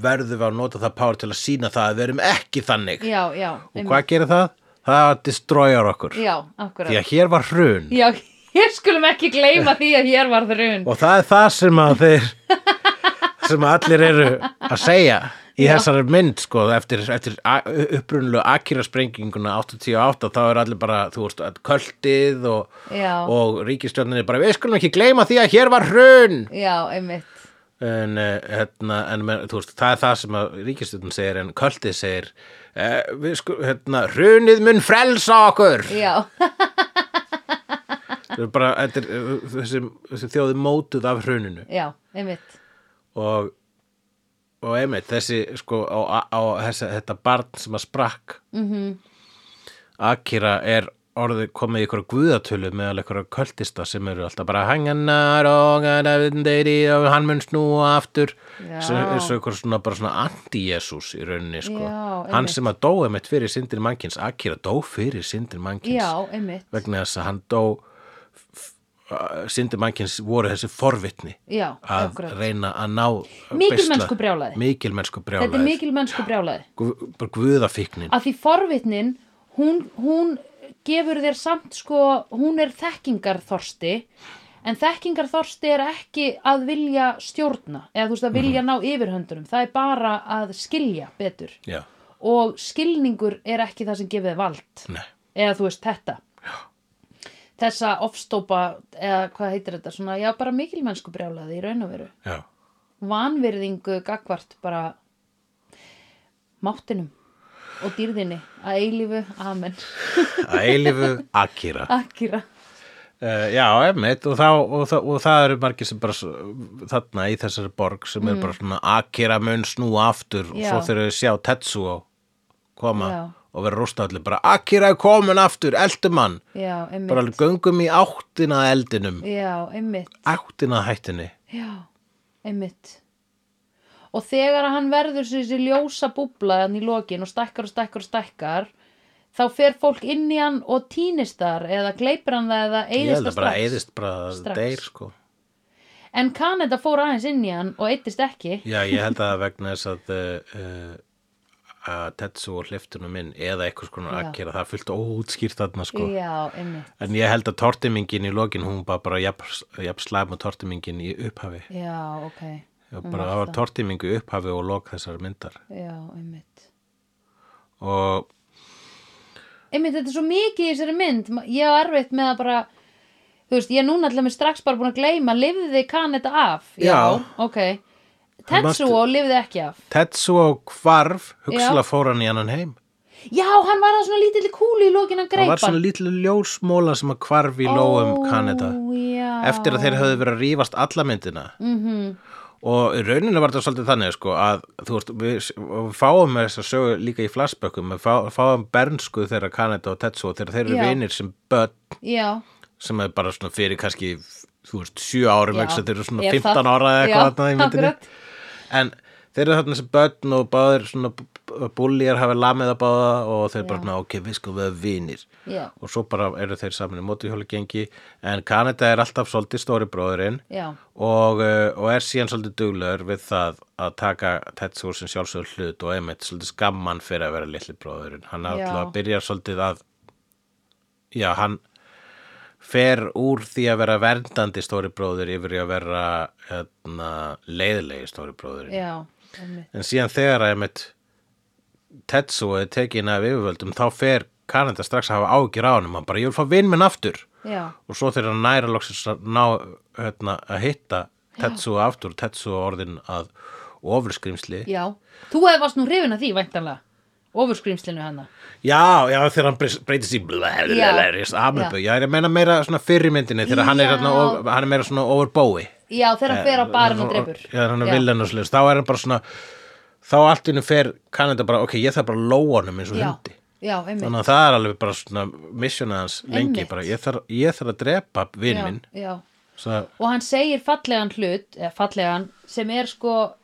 S1: verðum við að nota það power til að sína það að við erum ekki þannig
S2: já, já,
S1: og
S2: einmitt,
S1: hvað gerir það? það destroyar okkur
S2: já, akkurat
S1: því að hér var hrun
S2: já, hér skulum ekki gleyma því að hér var þrun
S1: og það er það sem að þeir sem að allir eru að segja í þessari mynd sko eftir, eftir a- upprunalegu Akira sprenginguna 88 þá er allir bara þú veist, að költið og,
S2: Já.
S1: og ríkistjörnin er bara við skulum ekki gleyma því að hér var hrun
S2: já, einmitt
S1: en, eh, hérna, en men- þú veist, það er það sem að ríkistjörnin segir en költið segir eh, við skulum, hérna, hrunið mun frelsa okkur
S2: Já,
S1: Þetta er bara, þetta er, eh, þessi, þessi þjóði mótuð af hruninu
S2: já, einmitt
S1: og og einmitt þessi sko á, á þessi, þetta barn sem að sprakk mm
S2: Mhm.
S1: -hmm. Akira er orðið komið í ykkur guðatölu meðal ykkur költista sem eru alltaf bara hanganar og hann mun snúa aftur
S2: Já.
S1: sem er svo ykkur svona bara svona anti-Jesus í rauninni sko
S2: Já,
S1: hann
S2: einmitt.
S1: sem að dó einmitt fyrir sindir mannkins Akira dó fyrir sindir mannkins
S2: Já, einmitt
S1: vegna þess að hann dó sindir mannkins voru þessi forvitni
S2: Já,
S1: að
S2: akkurat
S1: reyna að ná
S2: Mikilmennsku brjálæði.
S1: mikilmennsku brjálæði
S2: Þetta er mikil mennsku brjálæði
S1: Gu- bara guðafíknin
S2: Að því forvitnin, hún, hún gefur þér samt sko, hún er þekkingarþorsti En þekkingarþorsti er ekki að vilja stjórna Eða þú veist að vilja ná yfirhöndurum Það er bara að skilja betur
S1: já,
S2: Og skilningur er ekki það sem gefið er vald
S1: nei,
S2: eða þú veist þetta þessa ofstópa eða hvað heitir þetta svona, já bara mikilmennsku brjálaði í raun og veru
S1: já
S2: vanvirðingu gagvart bara máttinum og dýrðinni að eilífu, amen
S1: að eilifu Akira
S2: Akira,
S1: uh, já, emmitt og, þá- og, þá- og það eru margir sem bara s- þarna í þessari borg sem eru bara svona Akira mun snúa aftur og
S2: Mm. Já.
S1: svo þegar þau sjá Tetsuo koma
S2: Já.
S1: og vera rústafli bara Akira er komin aftur, eldum hann
S2: já, einmitt
S1: bara göngum í áttina að eldinum
S2: já, einmitt,
S1: áttina að hættinni
S2: já, einmitt og þegar að hann verður sér þessi ljósa búbla hann í lokin og stækkar og stækkar og stækkar þá fer fólk inn í hann og týnist þar eða gleipir hann það eða
S1: Ég held
S2: eyðist
S1: að bara
S2: það strax
S1: eðist bara
S2: Strax.
S1: strax. deyr sko.
S2: en Kanada fór aðeins inn í hann og eyðist ekki
S1: Já, ég held að vegna þess að uh, uh, að Tetsu og hliftunum minn eða eitthvað skona
S2: Já.
S1: að gera það er fullt óútskýrt þarna sko.
S2: já, einmitt
S1: En ég held að tortimingin í lokin hún bara, bara jafn, jafn slæm og tortimingin í upphafi.
S2: já, ok,
S1: Já,
S2: Hún
S1: bara
S2: var
S1: það var
S2: það.
S1: tortimingu í upphafi og lok þessar myndar.
S2: já, einmitt
S1: Og
S2: einmitt, þetta er svo mikið í þessari mynd Ma- ég á erfitt með að bara þú veist, ég er núna allavega strax bara búin að gleyma lifði Kanada af
S1: Já.
S2: ok, Tetsuo lifði ekki af
S1: Tetsu og Kvarf hugsalega fór hann í annan heim.
S2: já, hann var það svona lítilli kúli í lókin að
S1: Það
S2: greipa
S1: var svona lítið ljósmóla sem að Kvarf í lóum Kanada.
S2: já.
S1: eftir að þeir höfðu verið að rífast alla myndina
S2: Mhm.
S1: og í rauninu var þetta svolítið þannig sko, að þú veist, við, við fáum þess að sögu líka í flashbökkum við fá, fáum bernsku þeirra Kanada og Tetsuo þegar þeir eru
S2: Já.
S1: vinir sem börn
S2: já,
S1: sem er bara svona fyrir kannski þú veist, sjö árum
S2: Já.
S1: vegna þeir eru svona
S2: Ef
S1: 15
S2: það-
S1: ára eða
S2: Já,
S1: eitthvað þarna í myndinni
S2: akkurat.
S1: en þeir eru þarna sem börn og báðir svona búlýjar hafa lamið að báða og þeir bara, "Ná, ok, við sko við erum vinir
S2: já,
S1: og svo bara eru þeir saman í mótuhjólagengi en Kanada er alltaf svolítið stóri bróðurinn
S2: já,
S1: og, uh, og er síðan svolítið duglur við það að taka Tetsuo sem sjálfsögur hlut og einmitt svolítið skamman fyrir að vera litli bróðurinn hann
S2: Já.
S1: alltaf byrjar svolítið að já, hann fer úr því að vera verndandi stóri bróður yfir í að vera hérna, leiðilegi stóri bróðurinn
S2: já einmitt.
S1: en síðan þegar að einmitt Tetsuo er tekin af yfirvöldum þá fer Kanada strax að hafa ágjur á hann hann bara, ég vil fá vinn minn aftur
S2: já,
S1: og svo þegar hann næra loksins að ná hérna, að hitta Tetsu aftur, Tetsu orðin að ofurskrimsli.
S2: já þú hefði varst nú hrifin að því, væntanlega ofurskrimslinu hana
S1: Já, já, þegar hann breyst- breytist í blæðilegis amöbu. Já, ég meina meira svona fyrirmyndinni þegar hann er,
S2: Já.
S1: hérna, of- hann er meira svona overbói.
S2: já, þegar hann fer á barinn og drefur
S1: Eh, Já, hann er villan og slis. Þá er hann bara svona, þá allt innum fer Kanada bara, ok, ég þarf bara að lóa honum eins og
S2: já,
S1: hundi.
S2: já, einmitt
S1: Þannig að það er alveg bara svona missionið hans lengi.
S2: Einmitt.
S1: Bara, ég, þarf, ég þarf að drepa vinn minn.
S2: já, já
S1: Svo,
S2: og hann segir fallegan hlut eða fallegan sem er sko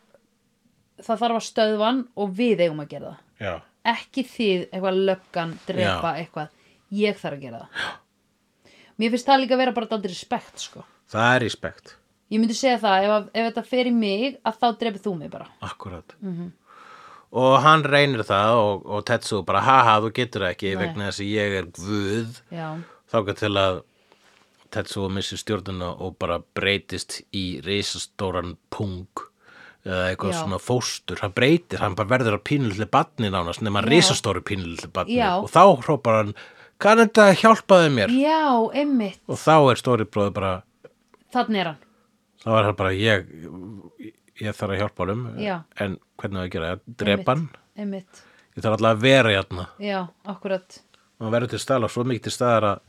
S2: það þarf að stöðva hann og við eigum að gera það
S1: já.
S2: ekki þið eitthvað löggan, drepa eitthvað ég þarf að gera það mér finnst það líka að vera bara daldið respekt sko.
S1: Það er respekt.
S2: ég myndi segja það, ef, að- ef þetta fer í mig að þá drepið þú mig bara
S1: Akkurat.
S2: Mhm.
S1: Og hann reynir það og, og Tetsu bara, haha, þú getur það ekki
S2: Nei.
S1: vegna þess að ég er guð.
S2: já,
S1: Þáka til að Tetsu missir stjórnuna og bara breytist í risastóran pung eða eitthvað
S2: Já.
S1: svona fóstur. Hann breytir, hann bara verður að pínulli batni nánast nema
S2: Já.
S1: risastóru pínulli batni.
S2: Já.
S1: Og þá hrópar hann, Kanada hjálpaði mér.
S2: já, einmitt
S1: Og þá er stóri bróði bara,
S2: þannig er hann
S1: þá er hann bara, ég, ég þarf að hjálpa honum.
S2: Já.
S1: En hvernig á ég að gera það? Drepa hann?
S2: einmitt, einmitt.
S1: Ég þarf alltaf að vera hérna.
S2: já, akkurat
S1: Hann verður til staðar og svo mikið til staðar að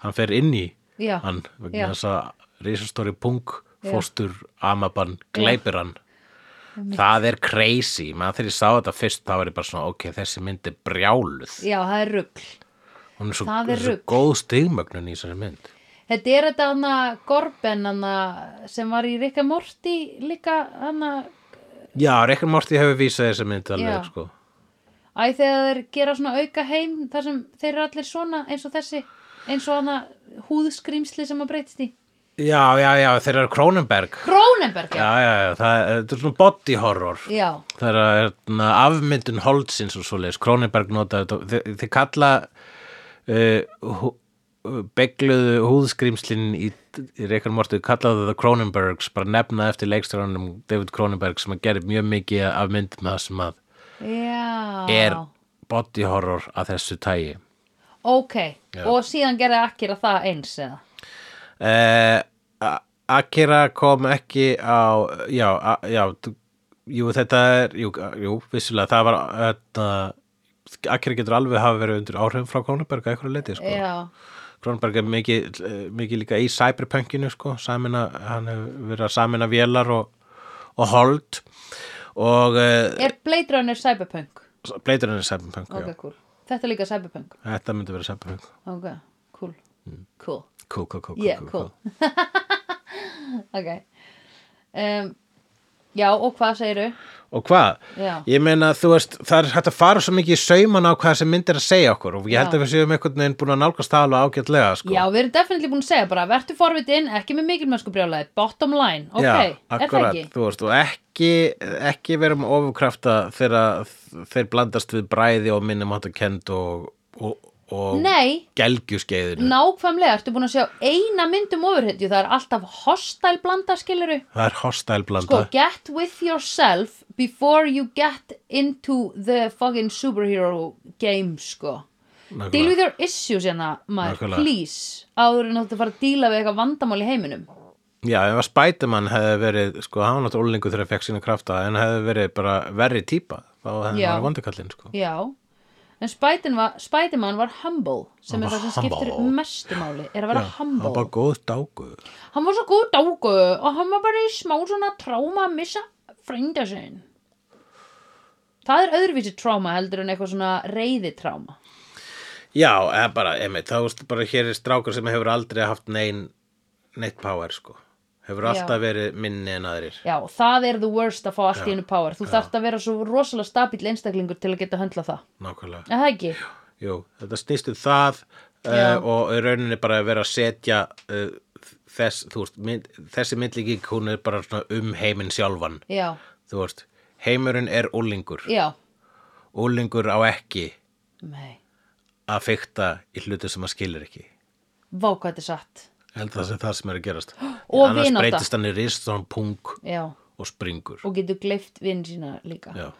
S1: hann fer inn í
S2: Já.
S1: hann
S2: Já.
S1: vegna þess að risastóri punk,
S2: Já.
S1: fóstur, amaban, gleipir hann. Það er crazy. Maður þegar ég sá þetta fyrst þá var ég bara svona, ok, þessi mynd er brjáluð.
S2: já, það er rugl
S1: Hún er svo,
S2: Það er
S1: svo
S2: rugl.
S1: góð stigmögnun í þessari mynd.
S2: Þetta er þetta hana Gorben hana sem var í Rikka Morti líka hana
S1: Já, Rekkar Morty hefur vísað þessa mynd alveg,
S2: Já.
S1: sko.
S2: Æ þegar þeir gera svona auka heim þar sem þeir eru allir svona eins og þessi eins og hana húðskrýmsli sem að breytist í
S1: Já, já, já, þeir eru Kronenberg.
S2: Krónenberg
S1: Já, já, já, það, þetta er svona body horror.
S2: já,
S1: Það er að hérna, afmyndun Holtzins og svoleiðis, Króniberg notaði þetta, þið, þið kalla uh, hú, begluðu húðskrimslin í, í Reykján Mortu, kallaðu það Kronenbergs, bara nefna eftir leikstjórunum David Kronenberg sem að gera mjög mikið af mynd með það sem að
S2: já.
S1: er body horror að þessu tægi.
S2: ok,
S1: Já.
S2: og síðan gerði Akira það eins eða
S1: Uh, Akira kom ekki á, já, a, já, þú- jú, þetta er, jú, jú vissulega, það var, þetta, Akira getur alveg hafa verið undir áhrifum frá Kronenberg að eitthvað leiti, sko.
S2: já,
S1: Kronenberg er mikið, eh, mikið líka í cyberpunkinu, sko, samina, hann hefur verið að samina vélar og, og hold og uh,
S2: er Blade Runner cyberpunk
S1: bleiturinn er cyberpunk,
S2: ok,
S1: já.
S2: cool, þetta er líka cyberpunk
S1: Þetta myndi vera cyberpunk.
S2: ok, cool
S1: Mm.
S2: cool
S1: Cool, cool, cool, cool,
S2: Yeah, cool. Ok. Um, Já, og hvað segiru?
S1: og hvað?
S2: Já.
S1: Ég meina, þú veist, það er hægt að fara svo mikið í sauman á hvað þessi mynd er að segja okkur og ég held
S2: Já.
S1: að við séum einhvern veginn búin að nálgast það alveg ágætlega, sko.
S2: Já, við erum definitely búin að segja bara, vertu forvitin, ekki með mikilmennsku brjálæði, bottom line, ok, er það
S1: akkurat,
S2: ekki?
S1: þú veist, og ekki, ekki vera með ofurkrafta þegar þeir blandast við bræði og minnum áttu kend og, og, og
S2: Nei,
S1: gelgjuskeiðinu.
S2: nákvæmlega, ertu búin að sjá eina mynd um ofurhetju, það er alltaf hostile blanda, skiluru?
S1: Það er hostile blanda.
S2: Sko, get with yourself before you get into the fucking superhero game, sko.
S1: Nákvæmlega.
S2: Deal with your issues hérna, maður,
S1: Nákvæmlega.
S2: please, áður en áttu að fara að díla við eitthvað vandamál í heiminum.
S1: Já, ef að Spiderman hefði verið, sko, hann var náttúrulega ólingu þegar að fekk sína krafta, en hefði verið bara verri típa, þá hefði
S2: Já.
S1: hann vandikallinn, sko.
S2: Já, en Spiderman var, Spiderman var humble, sem
S1: Hann
S2: er
S1: var
S2: það sem skiptir
S1: humble.
S2: mestu máli, er að vera
S1: hann
S2: humble.
S1: var góð dáguður.
S2: Hann var svo góð dágu og hann var bara í smá svona tráma að missa frænda sinn. Það er öðruvísi tráma heldur en eitthvað svona reyði tráma.
S1: Já, eða bara, emitt, þá veist bara hér er strákur sem hefur aldrei haft nein, neitt power, sko. Hefur
S2: Já.
S1: alltaf verið minni en aðrir.
S2: Já, það er the worst að fá allt í einu power. Þú þarft að vera svo rosalega stabíl einstaklingur til að geta höndla það.
S1: Nákvæmlega.
S2: Er það ekki?
S1: Jú, þetta snýst um það uh,
S2: Já.
S1: og í rauninni bara að vera að setja uh, þess, þú veist, mynd, þessi myndlíking, hún er bara svona um heiminn sjálfan.
S2: Já,
S1: Þú veist, heimurinn er úlingur.
S2: já.
S1: Úlingur á ekki
S2: Nei,
S1: að fykta í hluti sem hann skilur ekki.
S2: vá hvað þetta er satt.
S1: Ég held að það sé það sem er að gerast.
S2: Og
S1: Annars
S2: vinátta.
S1: breytist hann í rist, svona punk
S2: Já,
S1: og springur.
S2: og getur gleift vinn sína líka.
S1: Já.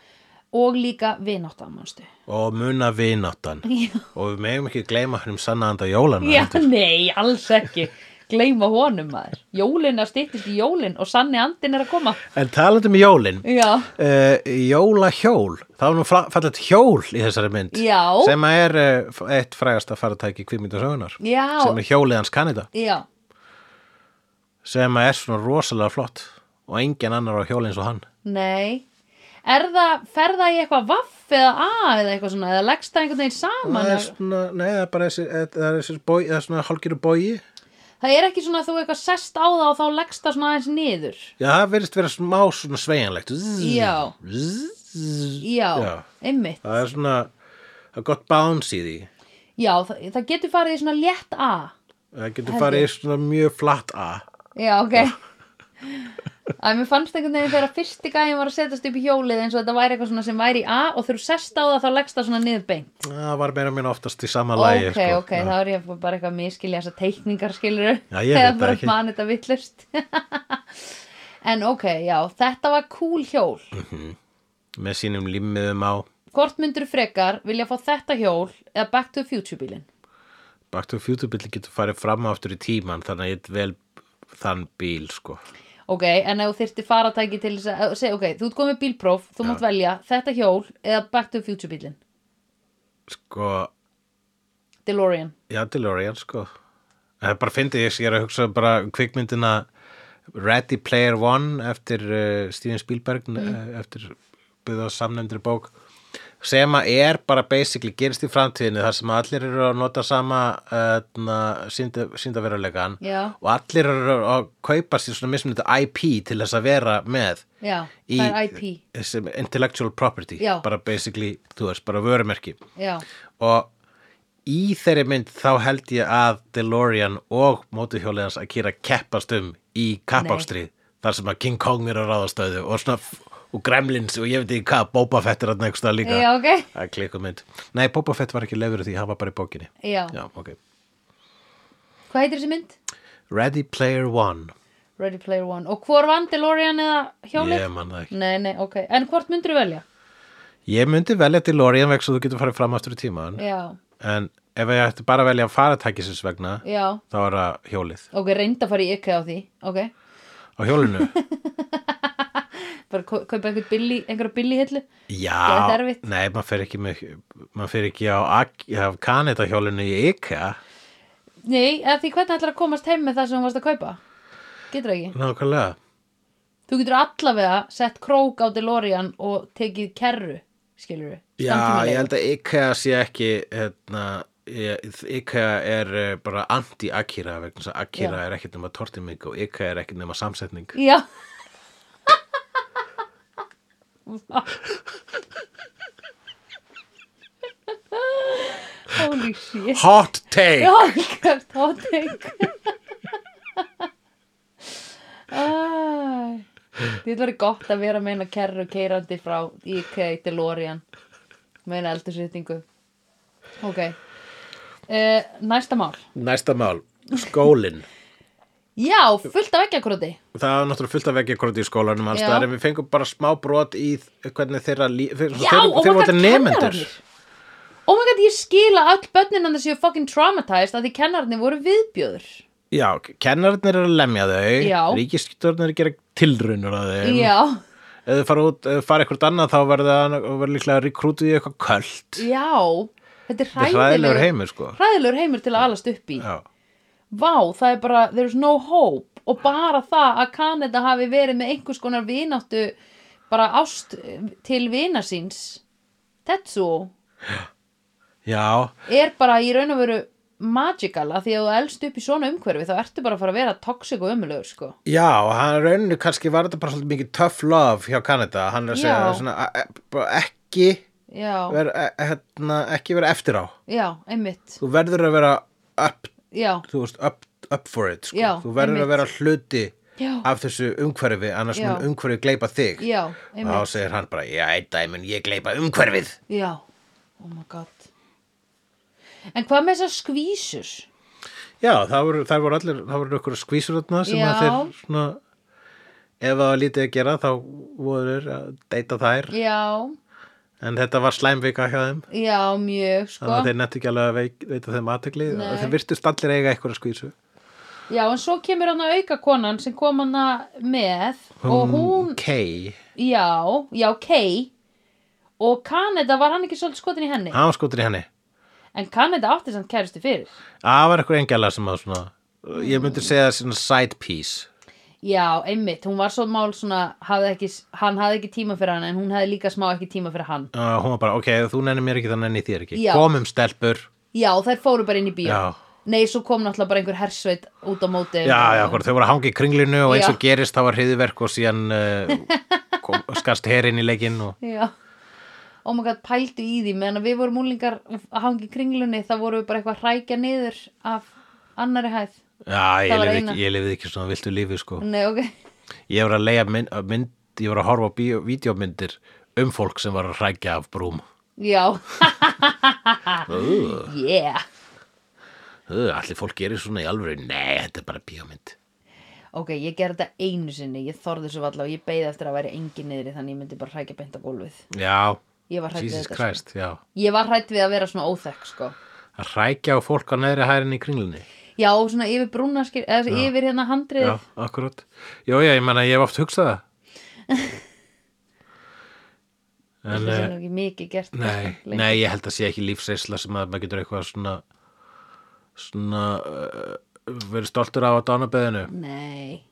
S2: Og líka vinnátt að mannstu.
S1: og muna vináttan
S2: Já.
S1: og við megum ekki gleyma hennum sannaðanda jólana
S2: Já,
S1: heldur.
S2: nei, alls ekki. Gleima honum maður. Jólin er stýttist í jólin og sanni andin er að koma.
S1: en talandi um jólin
S2: Já,
S1: uh, jólahjól það var nú fla- fallegt hjól í þessari mynd
S2: Já.
S1: sem að er uh, eitt frægasta faratæki kvikmyndasögunar
S2: Já.
S1: sem er hjólið hans Kanada
S2: já,
S1: sem að er svona rosalega flott og engin annar á hjóli eins og hann
S2: nei. Er það, fer það í eitthvað vaff eða að eða eitthvað svona, eða leggst það einhvern veginn saman?
S1: það er
S2: eða-
S1: svona, nei það er bara þessi, eh, það er þessi bói, það er svona hálgiru bói
S2: Það er ekki svona að þú eitthvað sest á það og þá leggst það svona aðeins niður.
S1: já það verðist vera smá svona sveigjanlegt Zzz,
S2: Já.
S1: zzz.
S2: Já,
S1: Já.
S2: einmitt.
S1: það er svona það er gott bounce í því
S2: Já, það, það getur farið í svona létt A.
S1: Það getur farið í svona mjög flatt A.
S2: Já, ok. Æ, mér fannst einhvern veginn þegar fyrsti gæðin var að setjast upp í hjólið eins og þetta væri eitthvað svona sem væri í A og þegar þú sest á það þá leggst það svona niður beint.
S1: Það var meira minn oftast í sama lagi.
S2: Ok,
S1: sko.
S2: ok, þá er ég bara eitthvað að miskilja þessar teikningar skilur
S1: Já, ég veit það
S2: bara
S1: ekki.
S2: man þetta vittlust En ok, já, þetta var cool hjól
S1: Með sínum limmiðum á
S2: Hvort myndur frekar vilja fá þetta hjól eða Back to the Future bílinn?
S1: Back to the Future bíl getur farið fram og aftur í tíman þannig að ég get vel þann bíl sko.
S2: Ok, en ef þú þyrfti faratæki til þess að eh, seg, ok, þú ert komið bílpróf, þú mátt velja þetta hjól eða Back to the Future bílinn
S1: Sko,
S2: DeLorean
S1: já, DeLorean sko. Það er bara fyndið ég, ég er að hugsa bara um kvikmyndina Ready Player One eftir uh, Steven Spielberg mm. eftir byggða samnefndri bók sem að er bara basically gerist í framtíðinu þar sem allir eru að nota sama uh, síndaverulegan
S2: Já.
S1: og allir eru að kaupa sér svona mismunandi IP til þess að vera með
S2: Já, það er IP
S1: sem intellectual property
S2: Já.
S1: bara basically, þú veist, bara vörumerki
S2: Já,
S1: og í þeirri mynd þá held ég að DeLorean og mótuhjóliðans að kýra keppast um í kappástrið þar sem að King Kong er að ráðastöðu og svona f- og Gremlins og ég veit ekki hvað Boba Fett er að nægsta líka
S2: Já, ok.
S1: Það er klikkuð mynd Nei, Boba Fett var ekki leifur því, hann var bara í bókinni
S2: já,
S1: Já, ok
S2: Hvað heitir þessi mynd?
S1: Ready Player One
S2: Ready Player One Og hvor vann DeLorean eða hjólið?
S1: Ég man það ekki
S2: Nei, nei, ok, en hvort myndur velja?
S1: Ég myndi velja DeLorean vegna svo þú getur farið fram aftur í tíman
S2: Já,
S1: En ef ég ætti bara að velja faratækisins vegna
S2: já
S1: þá er það hjólið
S2: Ok, reynda að fara í IKEA á því Ok,
S1: Á hjólinu
S2: bara kau- kaupa einhver billi, einhverja billi hillu
S1: Já,
S2: Gerðu erfitt.
S1: nei, maður fer ekki, með, maður fer ekki á, Ak- á Kaneda hjólinu í IKEA
S2: Nei, eða því hvernig ætlar að komast heim með það sem hún varst að kaupa? Getur ekki
S1: Nákvæmlega
S2: Þú getur allavega sett krók á DeLorean og tekið kerru, skilur við
S1: Já, ég held að IKEA sé ekki hérna, ég- IKEA er eh, bara anti-Akira vegna þess að Akira
S2: Já.
S1: er ekkert nema tortiming og IKEA er ekkert nema samsetning
S2: Já, Holy shit
S1: Hot take
S2: Já, gert hot take Æ, Þetta verður gott að vera meina kerru keirandi frá IKEA DeLorean meina eldursetningu Ok uh, Næsta mál
S1: Næsta mál, skólinn
S2: Já, fullt af ekkjakróti
S1: Það var náttúrulega fullt af veggja í skólanum alls
S2: Já.
S1: staðar en við fengum bara smá brot í eh, hvernig þeirra líf þeir,
S2: Já,
S1: þeir,
S2: oh my
S1: þeir
S2: god,
S1: voru nefendur
S2: kennararnir Oh my god, ég skila öll börnin hann séu fucking traumatized að því kennararnir voru viðbjöður
S1: Já, kennararnir eru að lemja þau
S2: Já.
S1: Ríkisstjórnir eru að gera tilrunur að þeim
S2: Já,
S1: Ef þau fara út, ef þau fara eitthvað annað þá verða verð líklega rekrútið í eitthvað köld
S2: já Þetta er
S1: Þetta er hræðilegur
S2: hræðilegur
S1: heimur sko
S2: hræðilegur heimur til að alast upp í
S1: Já,
S2: vá, það er bara, there's no hope og bara það að Kanada hafi verið með einhvers konar vináttu bara ást eh, til vina síns Tetsuo
S1: Já.
S2: er bara í raun og veru magical að því að þú elst upp í svona umhverfi þá ertu bara að fara að vera toxic og ömulegur sko.
S1: Já, hann rauninu kannski var þetta bara svolítið mikið tough love hjá Kanada hann er að segja
S2: Já.
S1: svona, e- e- bara ekki
S2: já,
S1: vera, e- hérna, ekki vera eftir á
S2: já, einmitt
S1: þú verður að vera up,
S2: já,
S1: þú veist, up, up for it sko.
S2: Já,
S1: þú verður að vera hluti
S2: Já.
S1: af þessu umhverfi annars
S2: Já.
S1: mun umhverfi gleypa þig
S2: já,
S1: þá
S2: einmitt
S1: segir hann bara, já, einn dag mun ég gleypa umhverfið
S2: já, oh my god en hvað með þessar skvísur
S1: Já, það voru, það voru allir, það voru ykkur skvísurotna sem
S2: Já.
S1: að þeir svona ef það var lítið að gera þá voru þeir að deyta þær
S2: já,
S1: en þetta var slæmvika hjá þeim
S2: já, mjög sko.
S1: þannig að þeir nættu ekki alveg að veik- veita þeim aðtegli
S2: Nei.
S1: þeir virtust allir eiga eitthvað skvísu
S2: Já, en svo kemur hann að auka konan sem kom hann með og hún,
S1: Kay,
S2: já, já, Kay og Kaneda var hann ekki svolítið skotin í henni
S1: hann var skotur í henni
S2: en Kaneda átti samt kæristu fyrir
S1: Það var eitthvað engjala sem að svona ég
S2: Mm.
S1: myndi segja svona side piece
S2: Já, einmitt, hún var svo mál svona hafði ekki, hann hafði ekki tíma fyrir hann en hún hafði líka smá ekki tíma fyrir hann
S1: uh, hún var bara, ok, þú nenni mér ekki þannig nenni ég þér ekki
S2: Já.
S1: komum stelpur
S2: Já, þær fóru bara inn í bíó
S1: Já.
S2: Nei, svo kom náttúrulega bara einhver hersveit út á móti
S1: Já, já, hvort, þau voru að hanga í kringlinu og eins
S2: Hérna. Já.
S1: og gerist þá var hriðiverk og síðan uh, kom, skast herinn í leikinn og
S2: Já Oh my god, pældu í því meðan að við vorum úlingar að hangi kringlunni þá vorum við bara eitthvað að hrækja niður af annari hæð
S1: Já, ég
S2: var
S1: lifið,
S2: eina.
S1: ekki, ég lifið ekki svona viltu lífi sko.
S2: Nei, ok
S1: Ég voru að leiða mynd, að mynd ég voru að horfa á bíó- vídeómyndir um fólk sem var að hrækja af brúm
S2: Já,
S1: uh,
S2: yeah
S1: uh, Allir fólk gerir svona í alvöru Nei, þetta er bara bíómynd
S2: Ok, ég gerði þetta einu sinni, ég þorði svo valla og ég beigði eftir að væri engin niðri þannig ég myndi bara hrækja beint á gólfið
S1: Já,
S2: Ég var hrætt við
S1: Jesus
S2: þetta sko.
S1: Christ, já
S2: Ég var hrætt við að vera svona óþekk sko
S1: Að hrækja á fólk á neðri hærinni í kringlunni
S2: Já, og svona yfir brúnaskir, eða yfir hérna handrið
S1: Já, akkurat Jó, já, ég meina, ég hef oft hugsað það
S2: Það
S1: En,
S2: er
S1: eh,
S2: nú ekki mikið gert
S1: nei,
S2: lengi.
S1: nei, ég held að sé ekki lífsreisla sem að maður getur eitthvað svona svona uh, verið stoltur á að dánabeðinu
S2: Nei,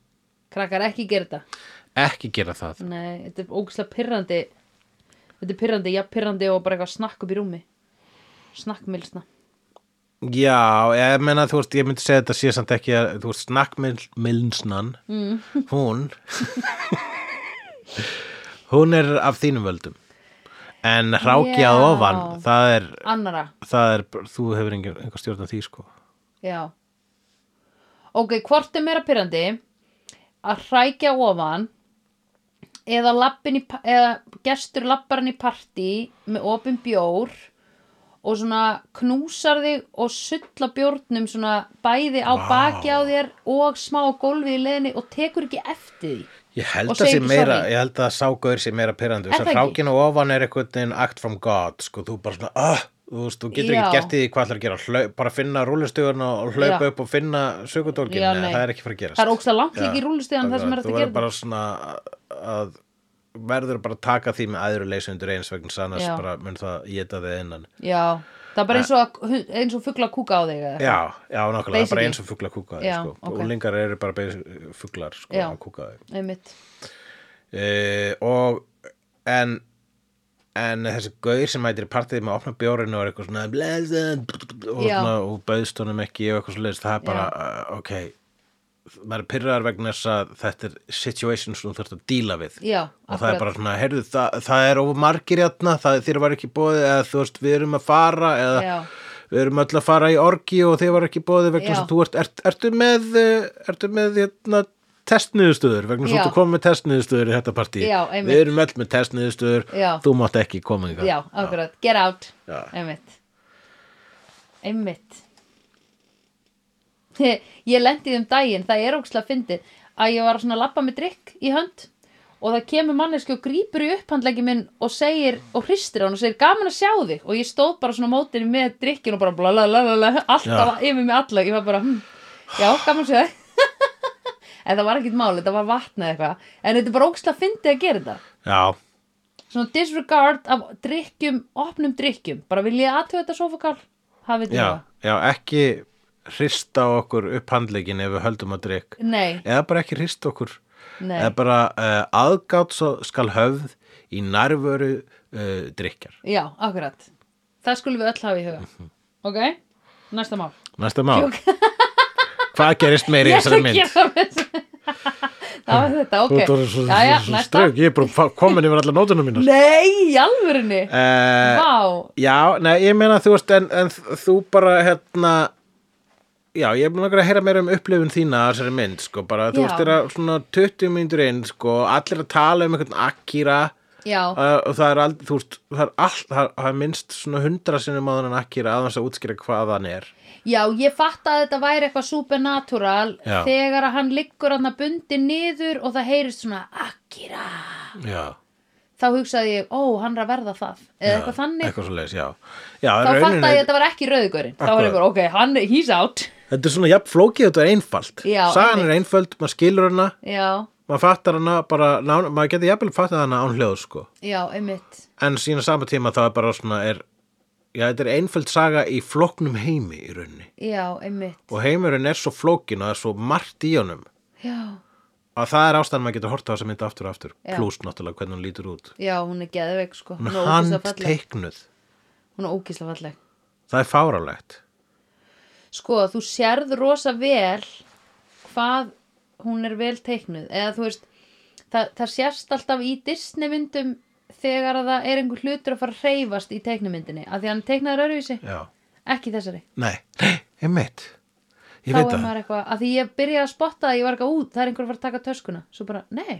S2: krakkar ekki gera þetta
S1: ekki gera það
S2: Nei, þetta er ógæslega pirrandi Þetta er pirrandi, já pirrandi og bara eitthvað snakk upp í rúmi Snakkmilsna
S1: Já, ég meina þú veist, ég myndi segja þetta sé samt ekki að, þú veist, snakkmilnsnan mm. hún hún er af þínum völdum en hrákjað
S2: Já.
S1: ofan það er,
S2: Annara
S1: það er, þú hefur einhver, einhver stjórn af því sko
S2: Já. Ok, hvort er meira pyrrandi að hrækja ofan eða, labbinn í, pa- eða gestur labbarinn í partí með opin bjór og svona knúsar þig og sulla bjórnum svona bæði á
S1: Vá.
S2: baki á þér og smá á gólfi í leðinni og tekur ekki eftir því.
S1: Ég held
S2: Og
S1: að
S2: segir
S1: sé
S2: ekki
S1: meira,
S2: sorry.
S1: ég held að ságaur sé meira pyrrandu,
S2: Er
S1: þess
S2: það
S1: að
S2: ekki?
S1: hrákinu ofan er einhvern veginn act from God, sko, þú bara svona, ah, þú veist, þú getur
S2: Já.
S1: ekki gert í því hvað ætlar að gera, Hlau, bara finna rúlistugun og hlaupa
S2: Já.
S1: upp og finna sögutólkin,
S2: Já, nei.
S1: það er ekki fara að gerast.
S2: Það er ógsta langt líka
S1: Já.
S2: í rúlustegan þar sem er þetta
S1: Þú
S2: að
S1: verður
S2: gera.
S1: bara svona að, verður bara að taka því með aðru leysu undir eins vegna sannast,
S2: Já.
S1: bara mun það geta þið innan.
S2: Já, það er bara eins og, að, hu- eins og fugla kúka á þig. eða eitthvað.
S1: Já, já, nákvæmlega, það er
S2: Basically.
S1: bara eins og fugla kúkaði,
S2: Já,
S1: sko,
S2: ok.
S1: og lingar eru bara basi- fuglar, sko,
S2: Já.
S1: að kúkaði.
S2: Einmitt.
S1: uh, og en en þessi gaur sem mætir í partíð með að opna bjórinu og er eitthvað svona blessa, og,
S2: Já.
S1: svona, og bauðst honum ekki og eitthvað svo leist það er bara, uh, eh, ok maður er pyrraðar vegna þess að þetta er situation sem þú þarft að díla við
S2: Já,
S1: og það er bara svona, heyrðu, það, það er of margir játna, það þér var ekki bóðið eða þú veist, við erum að fara eða
S2: Já.
S1: við erum öll að fara í orgi og þér var ekki bóðið vegna þess
S2: Já.
S1: að þú ert, ert ertu með, eh, ertu með hérna, testniðurstöður, vegna þess
S2: Já.
S1: að þú komið með testniðurstöður í þetta partí,
S2: Já, einmitt.
S1: við erum öll með testniðurstöður,
S2: Já.
S1: þú mátt ekki koma
S2: Já, akkurat, get out
S1: Já.
S2: Einmitt Einmitt Ég lendi um daginn, það er ókslega fyndið að ég var svona að labba með drikk í hönd og það kemur manneski og grípur í upphandleggi minn og segir og hristir á hann og segir gaman að sjá þig og ég stóð bara svona á mótinu með drikkin og bara blalalala, alltaf yfir mig alla ég var bara, hm, já, gaman að sjá þig en það var ekkit máli, þetta var vatna eitthvað en þetta er bara ókslega fyndið að gera þetta
S1: Já,
S2: svona disregard af drikkjum, opnum drikkjum bara vil ég aðtöða þetta sofakál hafið þið
S1: já, já, ekki hrista á okkur upphandlegin ef við höldum að drikk
S2: það nei,
S1: eða bara ekki hrista okkur
S2: nei,
S1: eða bara uh, aðgátt svo skal höfð í nærvöru uh, drikkjar.
S2: já, akkurat það skulum við öll hafa í
S1: Mhm.
S2: huga ok, næsta mál
S1: Næsta mál. Hvað gerist meiri í
S2: Ég ætla
S1: þessari
S2: að
S1: mynd?
S2: gera með þessu. það var þetta,
S1: Þú ert orðin
S2: ok
S1: svo,
S2: já, já,
S1: svo
S2: næsta
S1: strögg, ég er bara fa- komin yfir alla nótuna mínar.
S2: nei, í alvörunni
S1: Uh,
S2: vá,
S1: já, nei, ég meina þú veist, en, en þú bara hérna, já, ég er langar að heyra meira um upplifun þína að þessari mynd, sko, bara, þú
S2: Já.
S1: veist, þeirra svona 20 myndur inn, sko, allir að tala um einhvern Akira,
S2: já,
S1: Uh, og það er aldrei, þú veist, það er allt það er, það er minnst svona hundra sinnum áður en Akira aðeins að útskýra hvað hann er
S2: já ég fatt að þetta væri eitthvað supernatural
S1: Já.
S2: þegar að hann liggur hann bundin niður og það heyrist svona Akira
S1: já,
S2: þá hugsaði ég, ó, hann er að verða það eða eitthvað þannig,
S1: eitthvað svo leis, já, já
S2: þá fatt að þetta var ekki rauðugurinn þá var ég bara, ok, hann, he's out
S1: þetta er svona jafn flókið þetta er einfalt
S2: Já,
S1: sagan er einföld, maður skilur hana
S2: já,
S1: maður fattar hana, bara, nán, maður getur jafnvel fattað hana án hljóð, sko
S2: já, einmitt
S1: en sína sama tíma þá er bara svona er, já, þetta er einföld saga í flóknum heimi í rauninni
S2: já, einmitt,
S1: og heimurinn er svo flókin og það er svo margt í honum
S2: já,
S1: að það er ástæðan maður getur hort á þess að mynda aftur og aftur
S2: Já.
S1: pluss náttúrulega hvernig hún lítur út
S2: já, hún er geðveik sko, hún
S1: hún er
S2: er ógísla falleg
S1: handteiknuð
S2: hún er ógísla falleg,
S1: Það er fárálegt.
S2: sko, þú sérð rosa vel hvað hún er vel teiknuð eða þú veist, það, það sérst alltaf í Disneymyndum þegar að það er einhver hlutur að fara að reyfast í teiknumyndinni, af því að hann teiknaður öruvísi
S1: Já.
S2: ekki í þessari
S1: Nei, nei, einmitt.
S2: þá
S1: Ég veit
S2: er
S1: það.
S2: maður eitthvað, að því ég byrjaði að spotta að ég var eitthvað út, það er einhver að fara að taka töskuna svo bara, nei,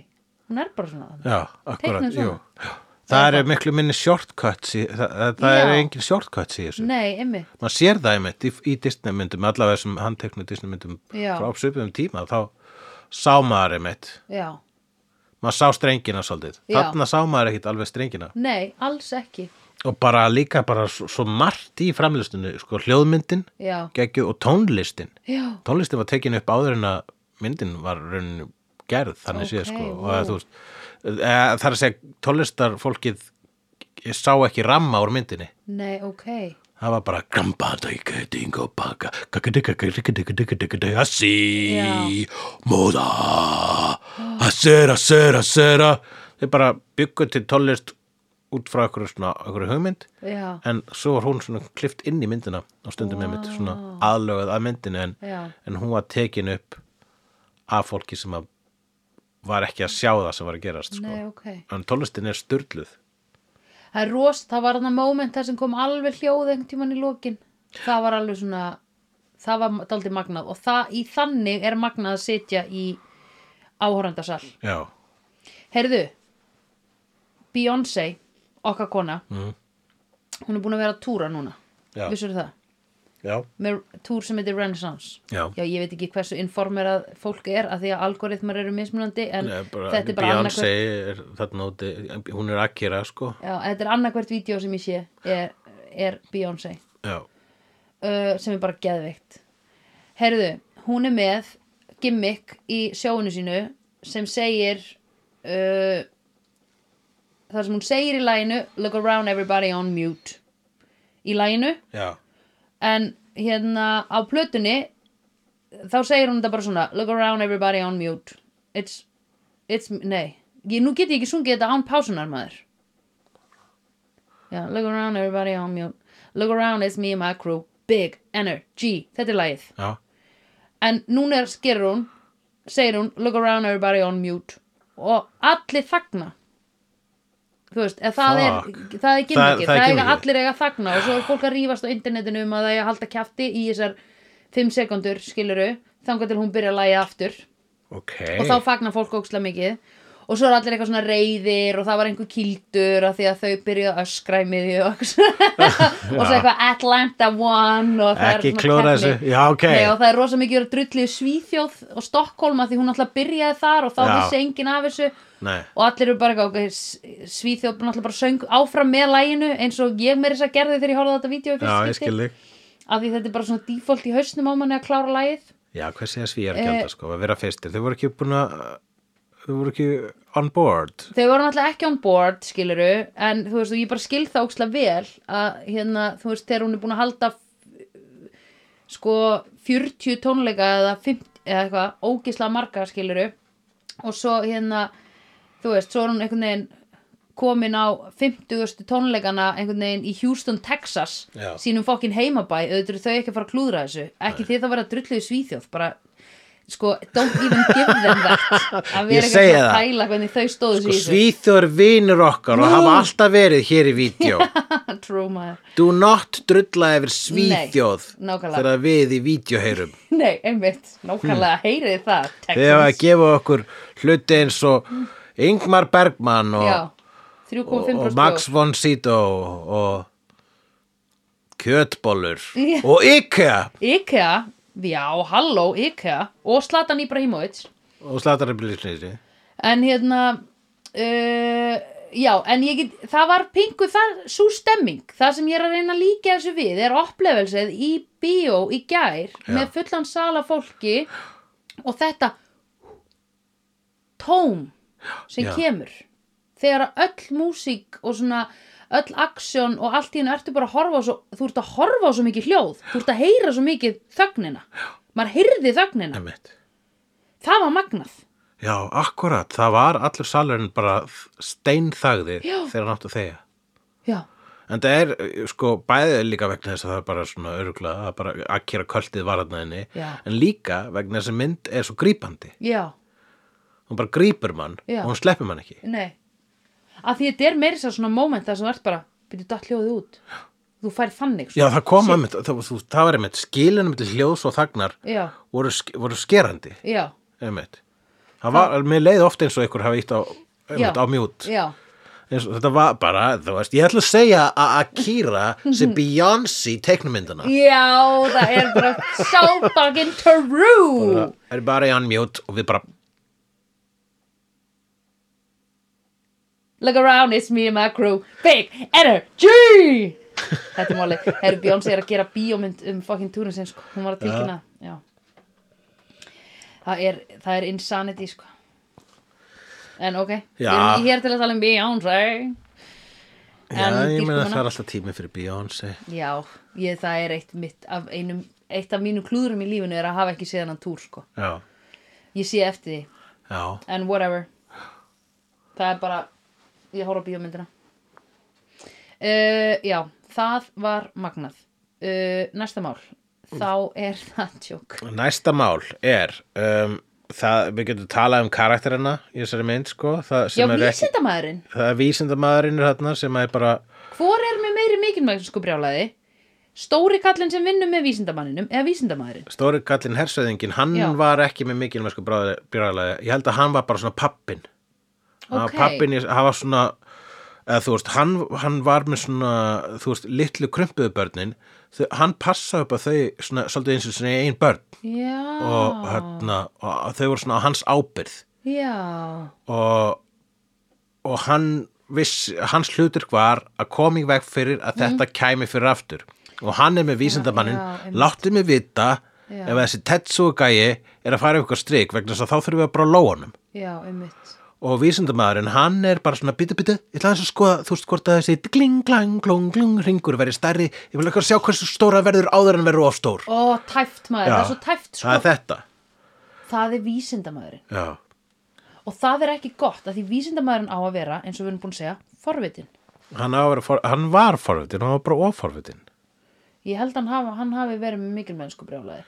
S2: hún er bara svona þannig.
S1: Já, akkurat,
S2: Teiknuð
S1: jú.
S2: svona.
S1: Já. Það eru miklu minni shortcuts í, það, það- það
S2: Já.
S1: eru engin shortcuts í þessu.
S2: nei, emmi,
S1: Man sér það einmitt í, í Disneymyndum, allavega sem handteknu Disneymyndum
S2: Já.
S1: frá svipum tíma, þá sá maður einmitt.
S2: já,
S1: Maður sá strengina svolítið.
S2: Já.
S1: Þarna sá maður ekkit alveg strengina.
S2: nei, alls ekki
S1: Og bara líka bara svo, svo margt í framlistinu, sko, hljóðmyndin,
S2: já,
S1: geggjuð og tónlistin.
S2: já,
S1: tónlistin var tekin upp áður en að myndin var rauninu gerð þannig
S2: Ókei,
S1: séð sko
S2: vá.
S1: og að, þú veist, eða, það er að segja tónlistarfólkið sá ekki ramma úr myndinni
S2: nei, ok
S1: það var bara grambadauka dingo baka kakadikakadikadikadikadikadikasi móða assera, assera, assera þau bara byggu til tónlist út frá okkur, svona, okkur hugmynd
S2: já,
S1: en svo var hún svona klift inn í myndina á stundum með mitt svona aðlögað að myndinu en,
S2: Já.
S1: en hún var tekin upp af fólki sem að var ekki að sjá það sem var að gerast sko.
S2: nei, ok
S1: en tónlistin er styrluð
S2: það er rost, það var þannig moment þar sem kom alveg hljóð einhvern tímann í lokin það var alveg svona það var daldið magnað og það, í þannig er magnað að sitja í áhorrandasal
S1: já,
S2: Heyrðu, Beyoncé, okkar kona, hún er búin að vera að túra núna.
S1: Mhm. Já.
S2: Vissur það?
S1: já,
S2: Með túr sem heitir Renaissance.
S1: já,
S2: Já, ég veit ekki hversu informerað fólk er að því að algoritmar eru mismunandi en
S1: Nei, bara,
S2: þetta er bara
S1: Beyonce
S2: annarkvært,
S1: er þarna úti hún er akkira sko
S2: já, þetta er annarkvært vídeo sem ég sé er, er Beyoncé
S1: já,
S2: uh, sem er bara geðveikt. Heyrðu, hún er með gimmick í sjóinu sínu sem segir uh, þar sem hún segir í læginu look around everybody on mute í læginu
S1: já,
S2: en hérna á plötunni þá segir hún þetta bara svona look around everybody on mute it's, it's, nei ég, nú get ég ekki sungið þetta án pásunar maður já, look around everybody on mute look around it's me and my crew big energy, þetta er lagið
S1: já,
S2: en núna er- gerir hún segir hún look around everybody on mute og allir þagna þú veist, eða það er
S1: Fuck.
S2: það er gimmickið,
S1: það er
S2: það, eiga
S1: gimmickið.
S2: allir eiga að þagna og svo er fólk að rífast á internetinu um að það eiga að halda kjafti í þessar 5 sekundur skiluru, þangar til hún byrja að læja aftur
S1: ok
S2: og þá fagnar fólk ókslega mikið og svo er allir eitthvað svona reyðir og það var einhver kildur af því að þau byrjuðu að öskra í miðju og, eitthvað svona. og svo eitthvað Atlanta One og það er
S1: Ekki
S2: svona
S1: klóra
S2: keppni.
S1: þessu. Já, ok.
S2: Nei, og það er rosa mikið drullið Svíþjóð og Stokkólma því hún alltaf byrjaði þar og þá
S1: Já.
S2: vissi enginn af þessu
S1: Nei.
S2: og allir eru bara eitthvað okay, S- Svíþjóð náttúrulega bara söng áfram með læginu eins og ég meiri þess að gerði þegar ég horfði á þetta vídeo í
S1: já,
S2: fyrsta
S1: ég skil
S2: skipti
S1: þig
S2: af því þetta er bara svona default í hausnum á manni að klára lægið
S1: já, hvað segja svíjar ekki
S2: Eh,
S1: alltaf sko að vera fyrstir, þau voru ekki búin að þau voru ekki on board
S2: þau voru náttúrulega ekki on board skiluru en þú veist og ég bara skil það ókslega vel að hérna þú veist þegar hún er búin að halda f- sko 40 tónleika eða 50 eða eitthvað ógislega marga skiluru og svo hérna þú veist svo er hún einhvern veginn komin á 50. tónleikana einhvern veginn í Houston, Texas
S1: Já.
S2: sínum fokkin heimabæ, auðvitað eru þau ekki að fara að klúðra þessu ekki því það vera drulluði svíþjóð bara sko, don't even give them that að
S1: Ég
S2: vera ekki
S1: segi
S2: að
S1: það.
S2: pæla hvernig þau stóðu
S1: sko,
S2: sig í þessu.
S1: svíþjóður vinur okkar og
S2: Nú.
S1: hafa alltaf verið hér í vídeo
S2: True maður
S1: do not drulla yfir svíþjóð
S2: Nei, nákvæmlega.
S1: þegar við í vídeo heyrum
S2: Nei, einmitt, nákvæmlega
S1: Hmm.
S2: heyrið það
S1: þau hafa
S2: Texans.
S1: að gefa okkur hluti eins og Ingmar Bergman og,
S2: Já,
S1: og,
S2: 3,5
S1: og Max von Sydow og kjötbollur og IKEA
S2: IKEA, já, halló, IKEA og Zlatan Ibrahimovic
S1: og Slatarri Bílisnýri
S2: En hérna uh, Já, en ég get Það var pingu þar, svo stemming Það sem ég er að reyna að líka þessu við er upplevelsið í bíó í gær með fullan sala fólki og þetta tóm sem
S1: Já.
S2: kemur þegar öll músík og svona öll aksjón og allt í hennu ertu bara að horfa á svo, þú ert að horfa á svo mikið hljóð þú ert að heyra svo mikið þögnina maður heyrði þögnina,
S1: Einmitt.
S2: það var magnað
S1: Já, akkurat, það var allur salurinn bara steinþagði
S2: Já.
S1: þegar hann áttu þegja
S2: já,
S1: En það er, eh, sko, bæðið líka vegna þess að það er bara svona örugla að bara akkera kvöldið varðnaðinni
S2: Já.
S1: en líka vegna þess að mynd er svo grípandi
S2: já
S1: hún bara grípur mann
S2: Já.
S1: og hún sleppur mann ekki
S2: Nei, af því þetta er meira þess að svona moment þar sem þú ert bara, byrju datt hljóðið út þú fær þannig sko.
S1: Já,
S2: svona.
S1: það kom að mitt, það, þú- það var einmitt skilinu mitt hljóðs og þagnar
S2: Já,
S1: voru, sk- voru skerandi,
S2: já,
S1: einmitt Það var, mér leið ofta eins og einhver hafi ítt á, einmitt,
S2: Já.
S1: á mjút
S2: já
S1: eins og þetta var bara, þú veist, ég ætla að segja að Akira sem Beyoncé teiknumyndina
S2: Já, það er bara so fucking true
S1: er bara í unmute og við bara
S2: Look around, it's me and my crew Big energy Þetta er máli, herru Bjóns er að gera bíómynd um fucking túrin sem sko, hún var að tilkynna Já Það er, það er insanity sko En ok,
S1: Já.
S2: við erum hér til að tala um Bjóns
S1: Já, ég meina það er alltaf tími fyrir Beyoncé
S2: Já, ég, það er eitt mitt af einum, eitt af mínum klúðurum í lífinu er að hafa ekki séð hann túr, sko.
S1: Já,
S2: Ég sé eftir því,
S1: já,
S2: en whatever. Það er bara, ég horf á bíómyndina. Uh, já, það var magnað. Uh, næsta mál, þá er það tjók.
S1: Næsta mál er um, það, við getum talað um karakterina í þessari mynd, sko það,
S2: Já,
S1: sem er ekki,
S2: vísindamæðurinn,
S1: það er vísindamaðurinn þarna sem er bara
S2: hvor er með meiri mikilmægum sko brjálaði? Stóri kallinn sem vinnur með vísindamanninum eða vísindamæðurinn?
S1: Stóri kallinn hersöðingin, hann
S2: Já.
S1: var ekki með mikilvæsku bráðlega, ég held að hann var bara svona pappin
S2: Ok.
S1: pappin, hann var svona eða þú veist, hann, hann var með svona þú veist, litlu krumpuðu börnin þau, hann passaði upp að þau svona, svolítið eins og svona einn börn
S2: Já,
S1: og,
S2: Ah.
S1: hérna, og þau voru svona á hans ábyrð
S2: já,
S1: og, og hann viss, hans hlutur var að koma í veg fyrir að þetta kæmi fyrir aftur og hann er
S2: Mhm. Já,
S1: með
S2: já,
S1: vísindamannin
S2: einmitt.
S1: láttu mig vita
S2: Já.
S1: ef þessi Tetsuo gæi er að fara ykkur strik vegna þess að þá þurfum við að bara lóa honum
S2: já, einmitt.
S1: og vísindamaðurinn hann er bara svona bítu bítu, ég ætla aðeins að skoða þú veist hvort að þessi gling, glang, glung, glung ringur verið stærri, ég vil eitthvað sjá hversu stóra verður áður en verður of stór
S2: Ó, tæft maður, það er
S1: Já,
S2: svo tæft sko.
S1: það er þetta
S2: það er vísindamaðurinn
S1: já,
S2: og það er ekki gott að því vísindamaðurinn á að vera eins og við erum búin að segja, forvitin
S1: hann, á að vera for, hann var forvitin, hann var bara oforvitin
S2: ég held að hann hafi, hann hafi verið með mikilmennsku brjálaði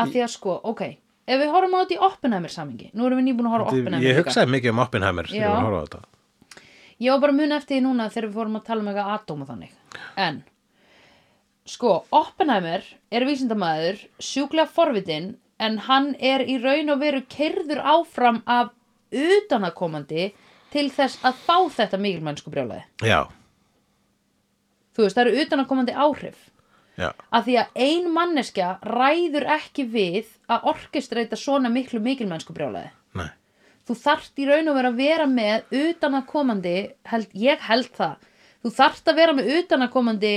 S2: af því að sko, ok ef við horfum á þetta í Oppenheimer samingi nú erum við nýbúin að horfa á Oppenheimer
S1: Ég
S2: líka.
S1: hugsaði mikið um Oppenheimer þegar
S2: Já.
S1: ég var að horfa á þetta.
S2: Ég var bara að muna eftir því núna þegar við fórum að tala um eitthvað atóm og þannig. En, sko, Oppenheimer er vísindamaður, sjúklega forvitin, en hann er í raun og veru kerður áfram af utanakomandi til þess að fá þetta mikilmennsku brjálæði.
S1: Já,
S2: Þú veist, það eru utanakomandi áhrif.
S1: já,
S2: Af því að ein manneskja ræður ekki við að orkestreita svona miklu mikilmennsku brjálæði.
S1: nei,
S2: þú þarft í raun og vera að vera með utanakomandi, held, ég held það þú þarft að vera með utanakomandi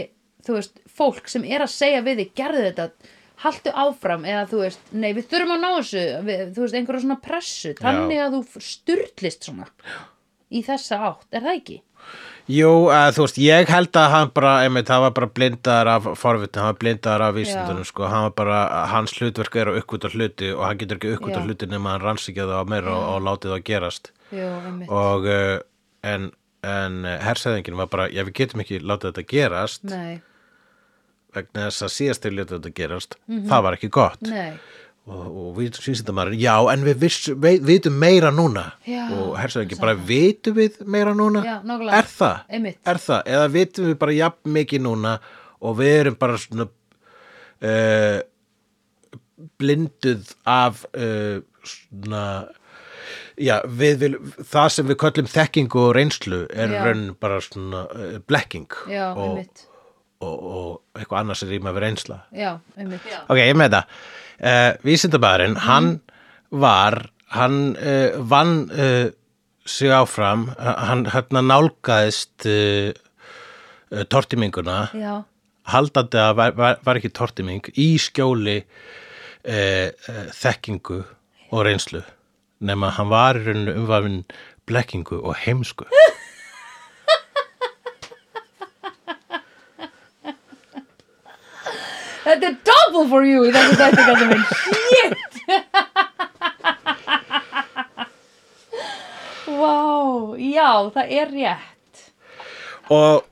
S2: þú veist, fólk sem er að segja við þig, gerðu þetta haltu áfram eða þú veist, nei við þurfum að ná þessu, við, þú veist, einhverja svona pressu þannig að þú styrlist svona í þessa átt, er það ekki?
S1: Jú, að, þú veist, ég held að hann bara, einmitt, hann var bara blindaður af forvitin, hann var blindaður af vísindunum, sko, hann var bara, hans hlutverk er að uppgöta hluti og hann getur ekki uppgöta
S2: Já.
S1: hluti nema hann rannsýkja það á meira og, og látið það gerast.
S2: Jú, einmitt,
S1: Og, eh, en, en hersæðingin var bara, já, við getum ekki látið þetta gerast
S2: nei,
S1: vegna þess að síðast til lítið þetta gerast,
S2: Mhm.
S1: það var ekki gott.
S2: nei
S1: og, og við sínsindamæðurinn, já, en við viss, veit, vitum meira núna
S2: Já,
S1: og hersæðingi, bara vitum við meira núna
S2: Já, nákvæmlega.
S1: er það,
S2: Einmitt.
S1: er það eða vitum við bara jafn mikið núna og við erum bara svona uh, blinduð af uh, svona já, við vil, það sem við köllum þekkingu og reynslu er
S2: Já.
S1: raun bara svona uh, blekking
S2: já,
S1: og,
S2: einmitt,
S1: og, og eitthvað annars er rýma við reynsla
S2: já, einmitt já,
S1: Ok, ég með þetta. Uh, Vísindabæðurinn, hann var, hann uh, vann uh, sig áfram, h- hann hérna nálgaðist uh, uh, tortiminguna,
S2: já,
S1: haldandi að var, var, var ekki tortiming, í skjóli uh, uh, þekkingu og reynslu, nema hann var í rauninu umvafinn blekkingu og heimsku.
S2: Þetta er double for you í þessu þetta kallar minn. Shit! Vá, já, það er rétt.
S1: og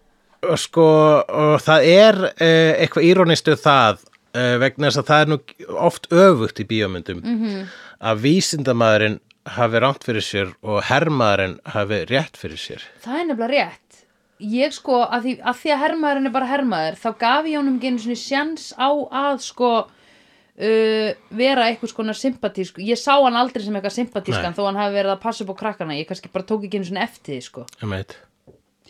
S1: og sko, og það er uh, eitthvað íronistu það uh, vegna þess að það er nú oft öfugt í bíómyndum
S2: Mhm.
S1: -hmm. að vísindamaðurinn hafi rámt fyrir sér og hermaðurinn hafi rétt fyrir sér
S2: Það er nefnilega rétt. Ég sko, að því að, því að hermaðurinn er bara hermaður, þá gaf ég honum ekki einu svona sjans á að sko uh, vera eitthvað skona sympatísk. Ég sá hann aldrei sem eitthvað sympatískan
S1: Nei.
S2: þó hann hafi verið að passa upp á krakkana. Ég kannski bara tók ekki einu svona eftir því sko.
S1: um eitt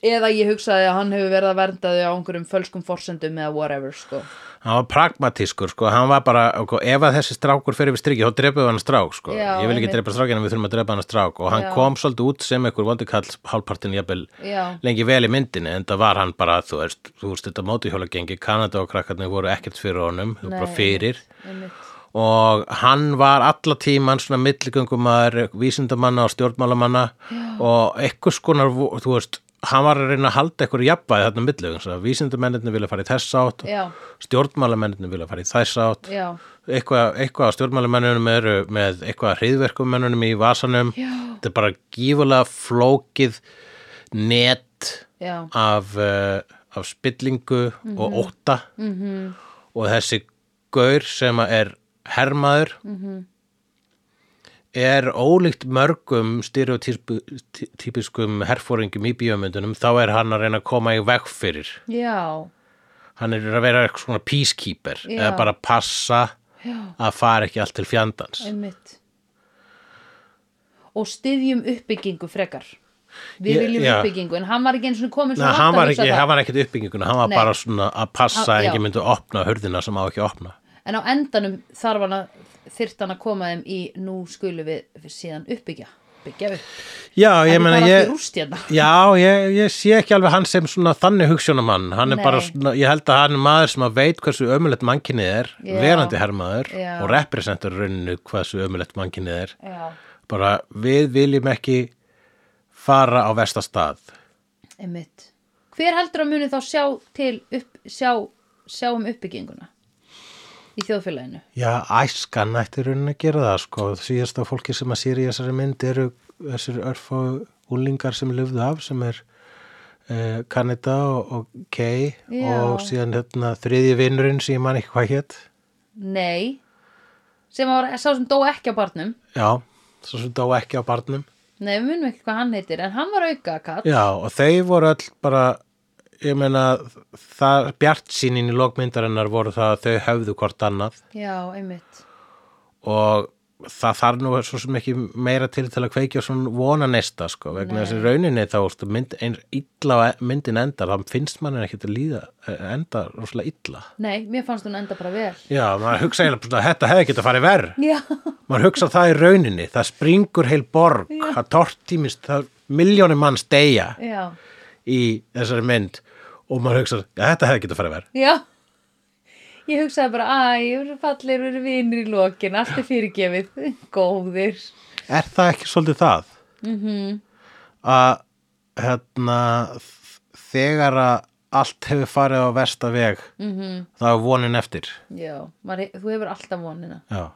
S2: Eða ég hugsaði að hann hefur verið að vernda þau á einhverjum fölskum forsendum eða whatever sko.
S1: hann var pragmatískur, sko, hann var bara ok, ef að þessi strákur fyrir við strikki, þá drepum við hann strák, sko,
S2: Já,
S1: ég vil ekki
S2: einmitt.
S1: drepa strákinn en við þurfum að drepa hann strák og hann
S2: Já.
S1: kom svolítið út sem einhver vondukall hálfpartin jafnvel
S2: Já.
S1: lengi vel í myndinni en það var hann bara, þú veist, þú veist þetta mótuhjólagengi, Kanada og krakkarnir voru ekkert fyrir honum, þú bara
S2: Nei,
S1: fyrir
S2: einmitt, einmitt.
S1: og hann var alla tíman svona milligöngumæður, vísindamanna og stjórnmálamanna og eitthvað skonar, vo- þú veist hann var að reyna að halda eitthvað jafnvæði þarna milligöng vísindamennirnir vilja fara í þess átt
S2: Já.
S1: stjórnmálamennirnir vilja fara í þess átt
S2: Já,
S1: eitthvað, eitthvað á stjórnmálamennunum eru með eitthvað hriðverkumennunum í vasanum
S2: Já.
S1: þetta er bara gífulega flókið net
S2: já,
S1: af, uh, af spillingu
S2: Mhm.
S1: og óta -hmm. og þessi gaur sem að er hermaður -hmm.
S2: Mhm.
S1: er ólíkt mörgum styrjótypiskum herfóringum í bíómyndunum þá er hann að reyna að koma í veg fyrir
S2: já,
S1: hann er að vera eitthvað svona peacekeeper
S2: Já.
S1: eða bara passa
S2: Já.
S1: að fara ekki allt til fjandans
S2: einmitt. Og styðjum uppbyggingu frekar. Við
S1: Ég-
S2: viljum
S1: já.
S2: uppbyggingu, en hann var ekki eins og komin
S1: Nei,
S2: svo langt
S1: hann
S2: að
S1: var
S2: hugsa
S1: ekki,
S2: það.
S1: hann var ekkert uppbygginguna, hann var
S2: Nei.
S1: bara svona að passa
S2: Á-
S1: að
S2: já.
S1: enginn myndi opna hurðina sem á ekki að opna.
S2: En á endanum þarf hann að þyrt hann að koma þeim í nú skulum við síðan uppbyggja. Byggja upp.
S1: Já, ég
S2: En það
S1: meina
S2: er allt
S1: ég...
S2: í rúst hérna.
S1: Já, ég, ég sé ekki alveg hann sem svona þannig hugsjónamann, hann er
S2: Nei.
S1: bara svona, ég held að hann er maður sem að veit hversu ömulegt mannkynið er,
S2: Já.
S1: verandi herrmaður
S2: Já.
S1: og representar rauninu hversu ömulegt mannkynið er,
S2: Já,
S1: bara við viljum ekki fara á vestastað.
S2: einmitt. Hver heldur að muni þá sjá til upp, sjá, sjá um uppbygginguna í þjóðfélaginu?
S1: Já, æskan ætti í rauninni að gera það, sko, síðasta fólki sem að sér í þessari mynd eru þessir örfá úlingar sem lifðu af, sem er uh, Kanada og, og Kay
S2: Já.
S1: og síðan hérna þriðji vinnurinn sem ég man ekki hvað hétt.
S2: Nei, sem var sá sem dó ekki á barnum
S1: já, svo sem dó ekki á barnum
S2: Nei, við munum ekki hvað hann heitir en hann var auka kall
S1: já, og þeir voru öll bara ég meina, það bjart sínin í lokmyndarinnar voru það að þau höfðu hvort annað
S2: Já, einmitt
S1: og það þarf nú svo sem ekki meira til til að kveikja svona vona neista sko, vegna þessi rauninni þá úrstu, mynd, ein, illa á e- myndin endar þá finnst mann ekki að líða eh, enda rosalega illa
S2: Nei, mér fannst hún enda bara vel
S1: já, maður hugsa eiginlega bara, þetta hefði ekki að fara verð
S2: Já,
S1: maður hugsa það í rauninni það springur heil borg það tortímist, það miljónir mann deyja
S2: já,
S1: í þessari mynd og maður hugsa, já, þetta hefði getað farið verð
S2: já Ég hugsaði bara, æ, ég eru fallir, eru vinir í lokin, allt er fyrirgefið, góðir.
S1: er það ekki svolítið það?
S2: Mhm.
S1: -hmm. að hérna þ- þegar að allt hefur farið á versta veg
S2: Mhm.
S1: -hmm. það er vonin eftir
S2: Já, maður, þú hefur alltaf vonina.
S1: já,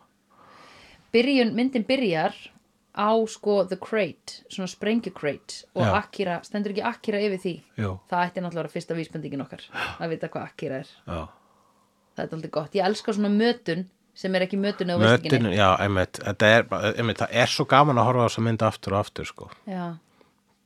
S2: Byrjun, myndin byrjar á sko The Crate, svona sprengju Crate og
S1: Já.
S2: Akira, stendur ekki Akira yfir því?
S1: Jú.
S2: Það ætti náttúrulega að vera fyrsta vísbendingin okkar, að vita hvað Akira er.
S1: já.
S2: Það er aldrei gott. Ég elska svona mötun sem er ekki mötun eða
S1: Mötin,
S2: veistinginni.
S1: já, einmitt, þetta er, bara- einmitt, það er svo gaman að horfa á þessa mynd aftur og aftur sko.
S2: Já,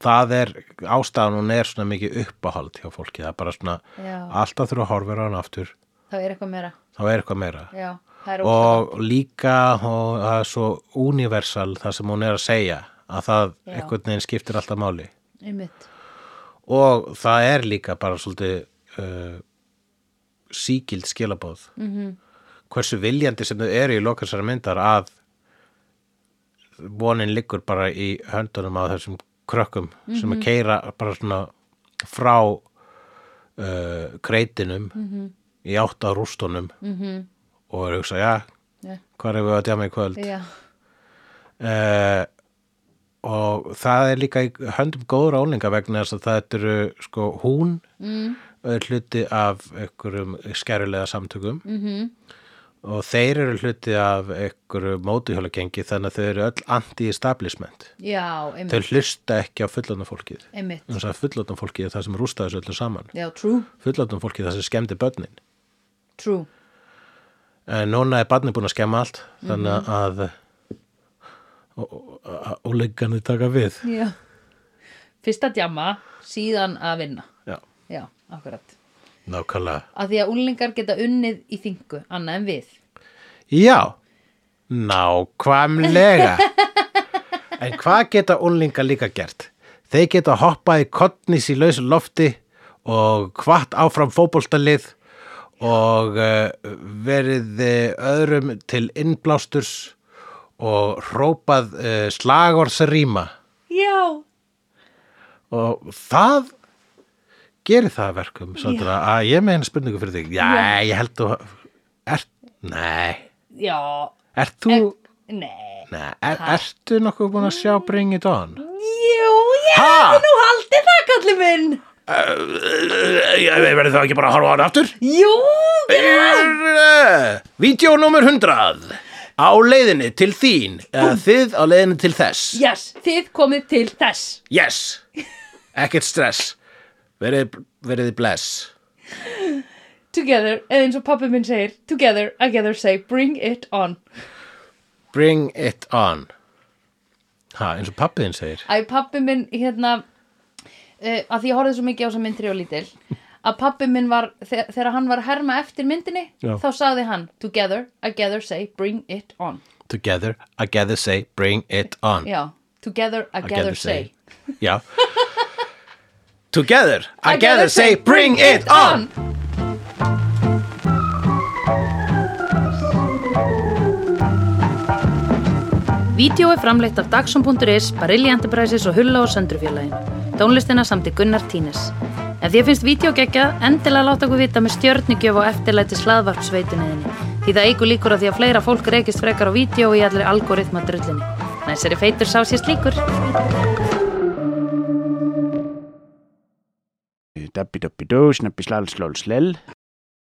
S1: það er, ástæðan hún er svona mikið uppáhald hjá fólki, það er bara svona
S2: Já.
S1: alltaf þurfa að horfa á hann aftur
S2: það er eitthvað meira.
S1: þá er eitthvað meira
S2: Já, það er ótrúlega.
S1: og líka og það er svo universal það sem hún er að segja að það
S2: Já.
S1: einhvern veginn skiptir alltaf máli
S2: Einmitt.
S1: og það er líka bara svolítið uh, síkild skilabóð -hmm.
S2: Mhm.
S1: hversu viljandi sem þau eru í lokasara myndar að vonin liggur bara í höndunum á þessum krökkum sem
S2: Mhm.
S1: að keira bara svona frá uh, kreitinum -hmm.
S2: Mhm.
S1: í átt að rústunum
S2: Mm.
S1: -hmm. og er hugsa, já,
S2: Já,
S1: hvað er við að djáma í kvöld
S2: já,
S1: uh, og það er líka í höndum góður álinga vegna þess að það eru sko hún mm. hluti af einhverjum skærulega samtökum -hmm.
S2: mhm.
S1: og þeir eru hluti af einhverju mótuhjólagengi þannig að þau eru öll anti-establishment
S2: já einmitt.
S1: þau hlusta ekki á fullotna fólkið
S2: einmitt.
S1: þannig að fullotna fólkið er það sem rústa þessu öllu saman
S2: Já, true,
S1: fullotna fólkið er það sem skemmdi börnin
S2: true.
S1: en núna er barnið búin að skemma allt þannig að óleikandi taka við
S2: Já. Fyrst að djama, síðan að vinna.
S1: Já,
S2: Já, akkurat.
S1: nákvæmlega.
S2: Af því að úlingar geta unnið í þingu, annað en við.
S1: Já, nákvæmlega. en hvað geta unlingar líka gert? Þeir geta hoppað í kottnis í lausu lofti og hvart áfram fótboltalið og uh, verið eh, öðrum til innblásturs og hrópað uh, slagorsaríma
S2: Já,
S1: og það gerir það að verkum svolítið að ég meina spurningu fyrir þig já, ég held þú er, nei,
S2: já,
S1: ert þú
S2: nei.
S1: nei, er, ertu nokkuð búin að sjá Bring It On
S2: Jú, ég
S1: Ha?
S2: hef nú haldið það, kallið minn.
S1: Eh, ég verði þá ekki bara að horfa á hann aftur Eh,
S2: Jú,
S1: Vídeó nummer 100 á leiðinni til þín eða þið á leiðinni til þess
S2: yes, þið komið til þess.
S1: yes, ekkert stress verið, verið bless
S2: Together, eða eins og pappi minn segir, together, together say, bring it on.
S1: Bring it on Ha, eins og pappiðin segir
S2: að pappi minn hérna uh, að því ég horfði svo mikið á þess að mynd þegar ég var lítil að pappi minn var, þe þegar hann var að herma eftir myndinni,
S1: Já.
S2: þá sagði hann together, together say, bring it on
S1: Together, together say, bring it on
S2: já, together, together say
S1: Já Together, together say, bring it on
S2: Vídeó er framleitt af Dagsum.is, Barilli Enterprises og Hulla og Söndrufjörlægin. Tónlistina samt í Gunnar Tínes. Ef því finnst vídeo gegja, endilega láta okkur vita með stjörnigjöf og eftirlæti slaðvarpsveituninni. Því það eigur líkur að því að fleira fólk reykist frekar á vídeo í allir algoritma drullinni. Næsari feitur sá sér slíkur.
S3: Dabbi dabbi dó, snabbi slall slól slell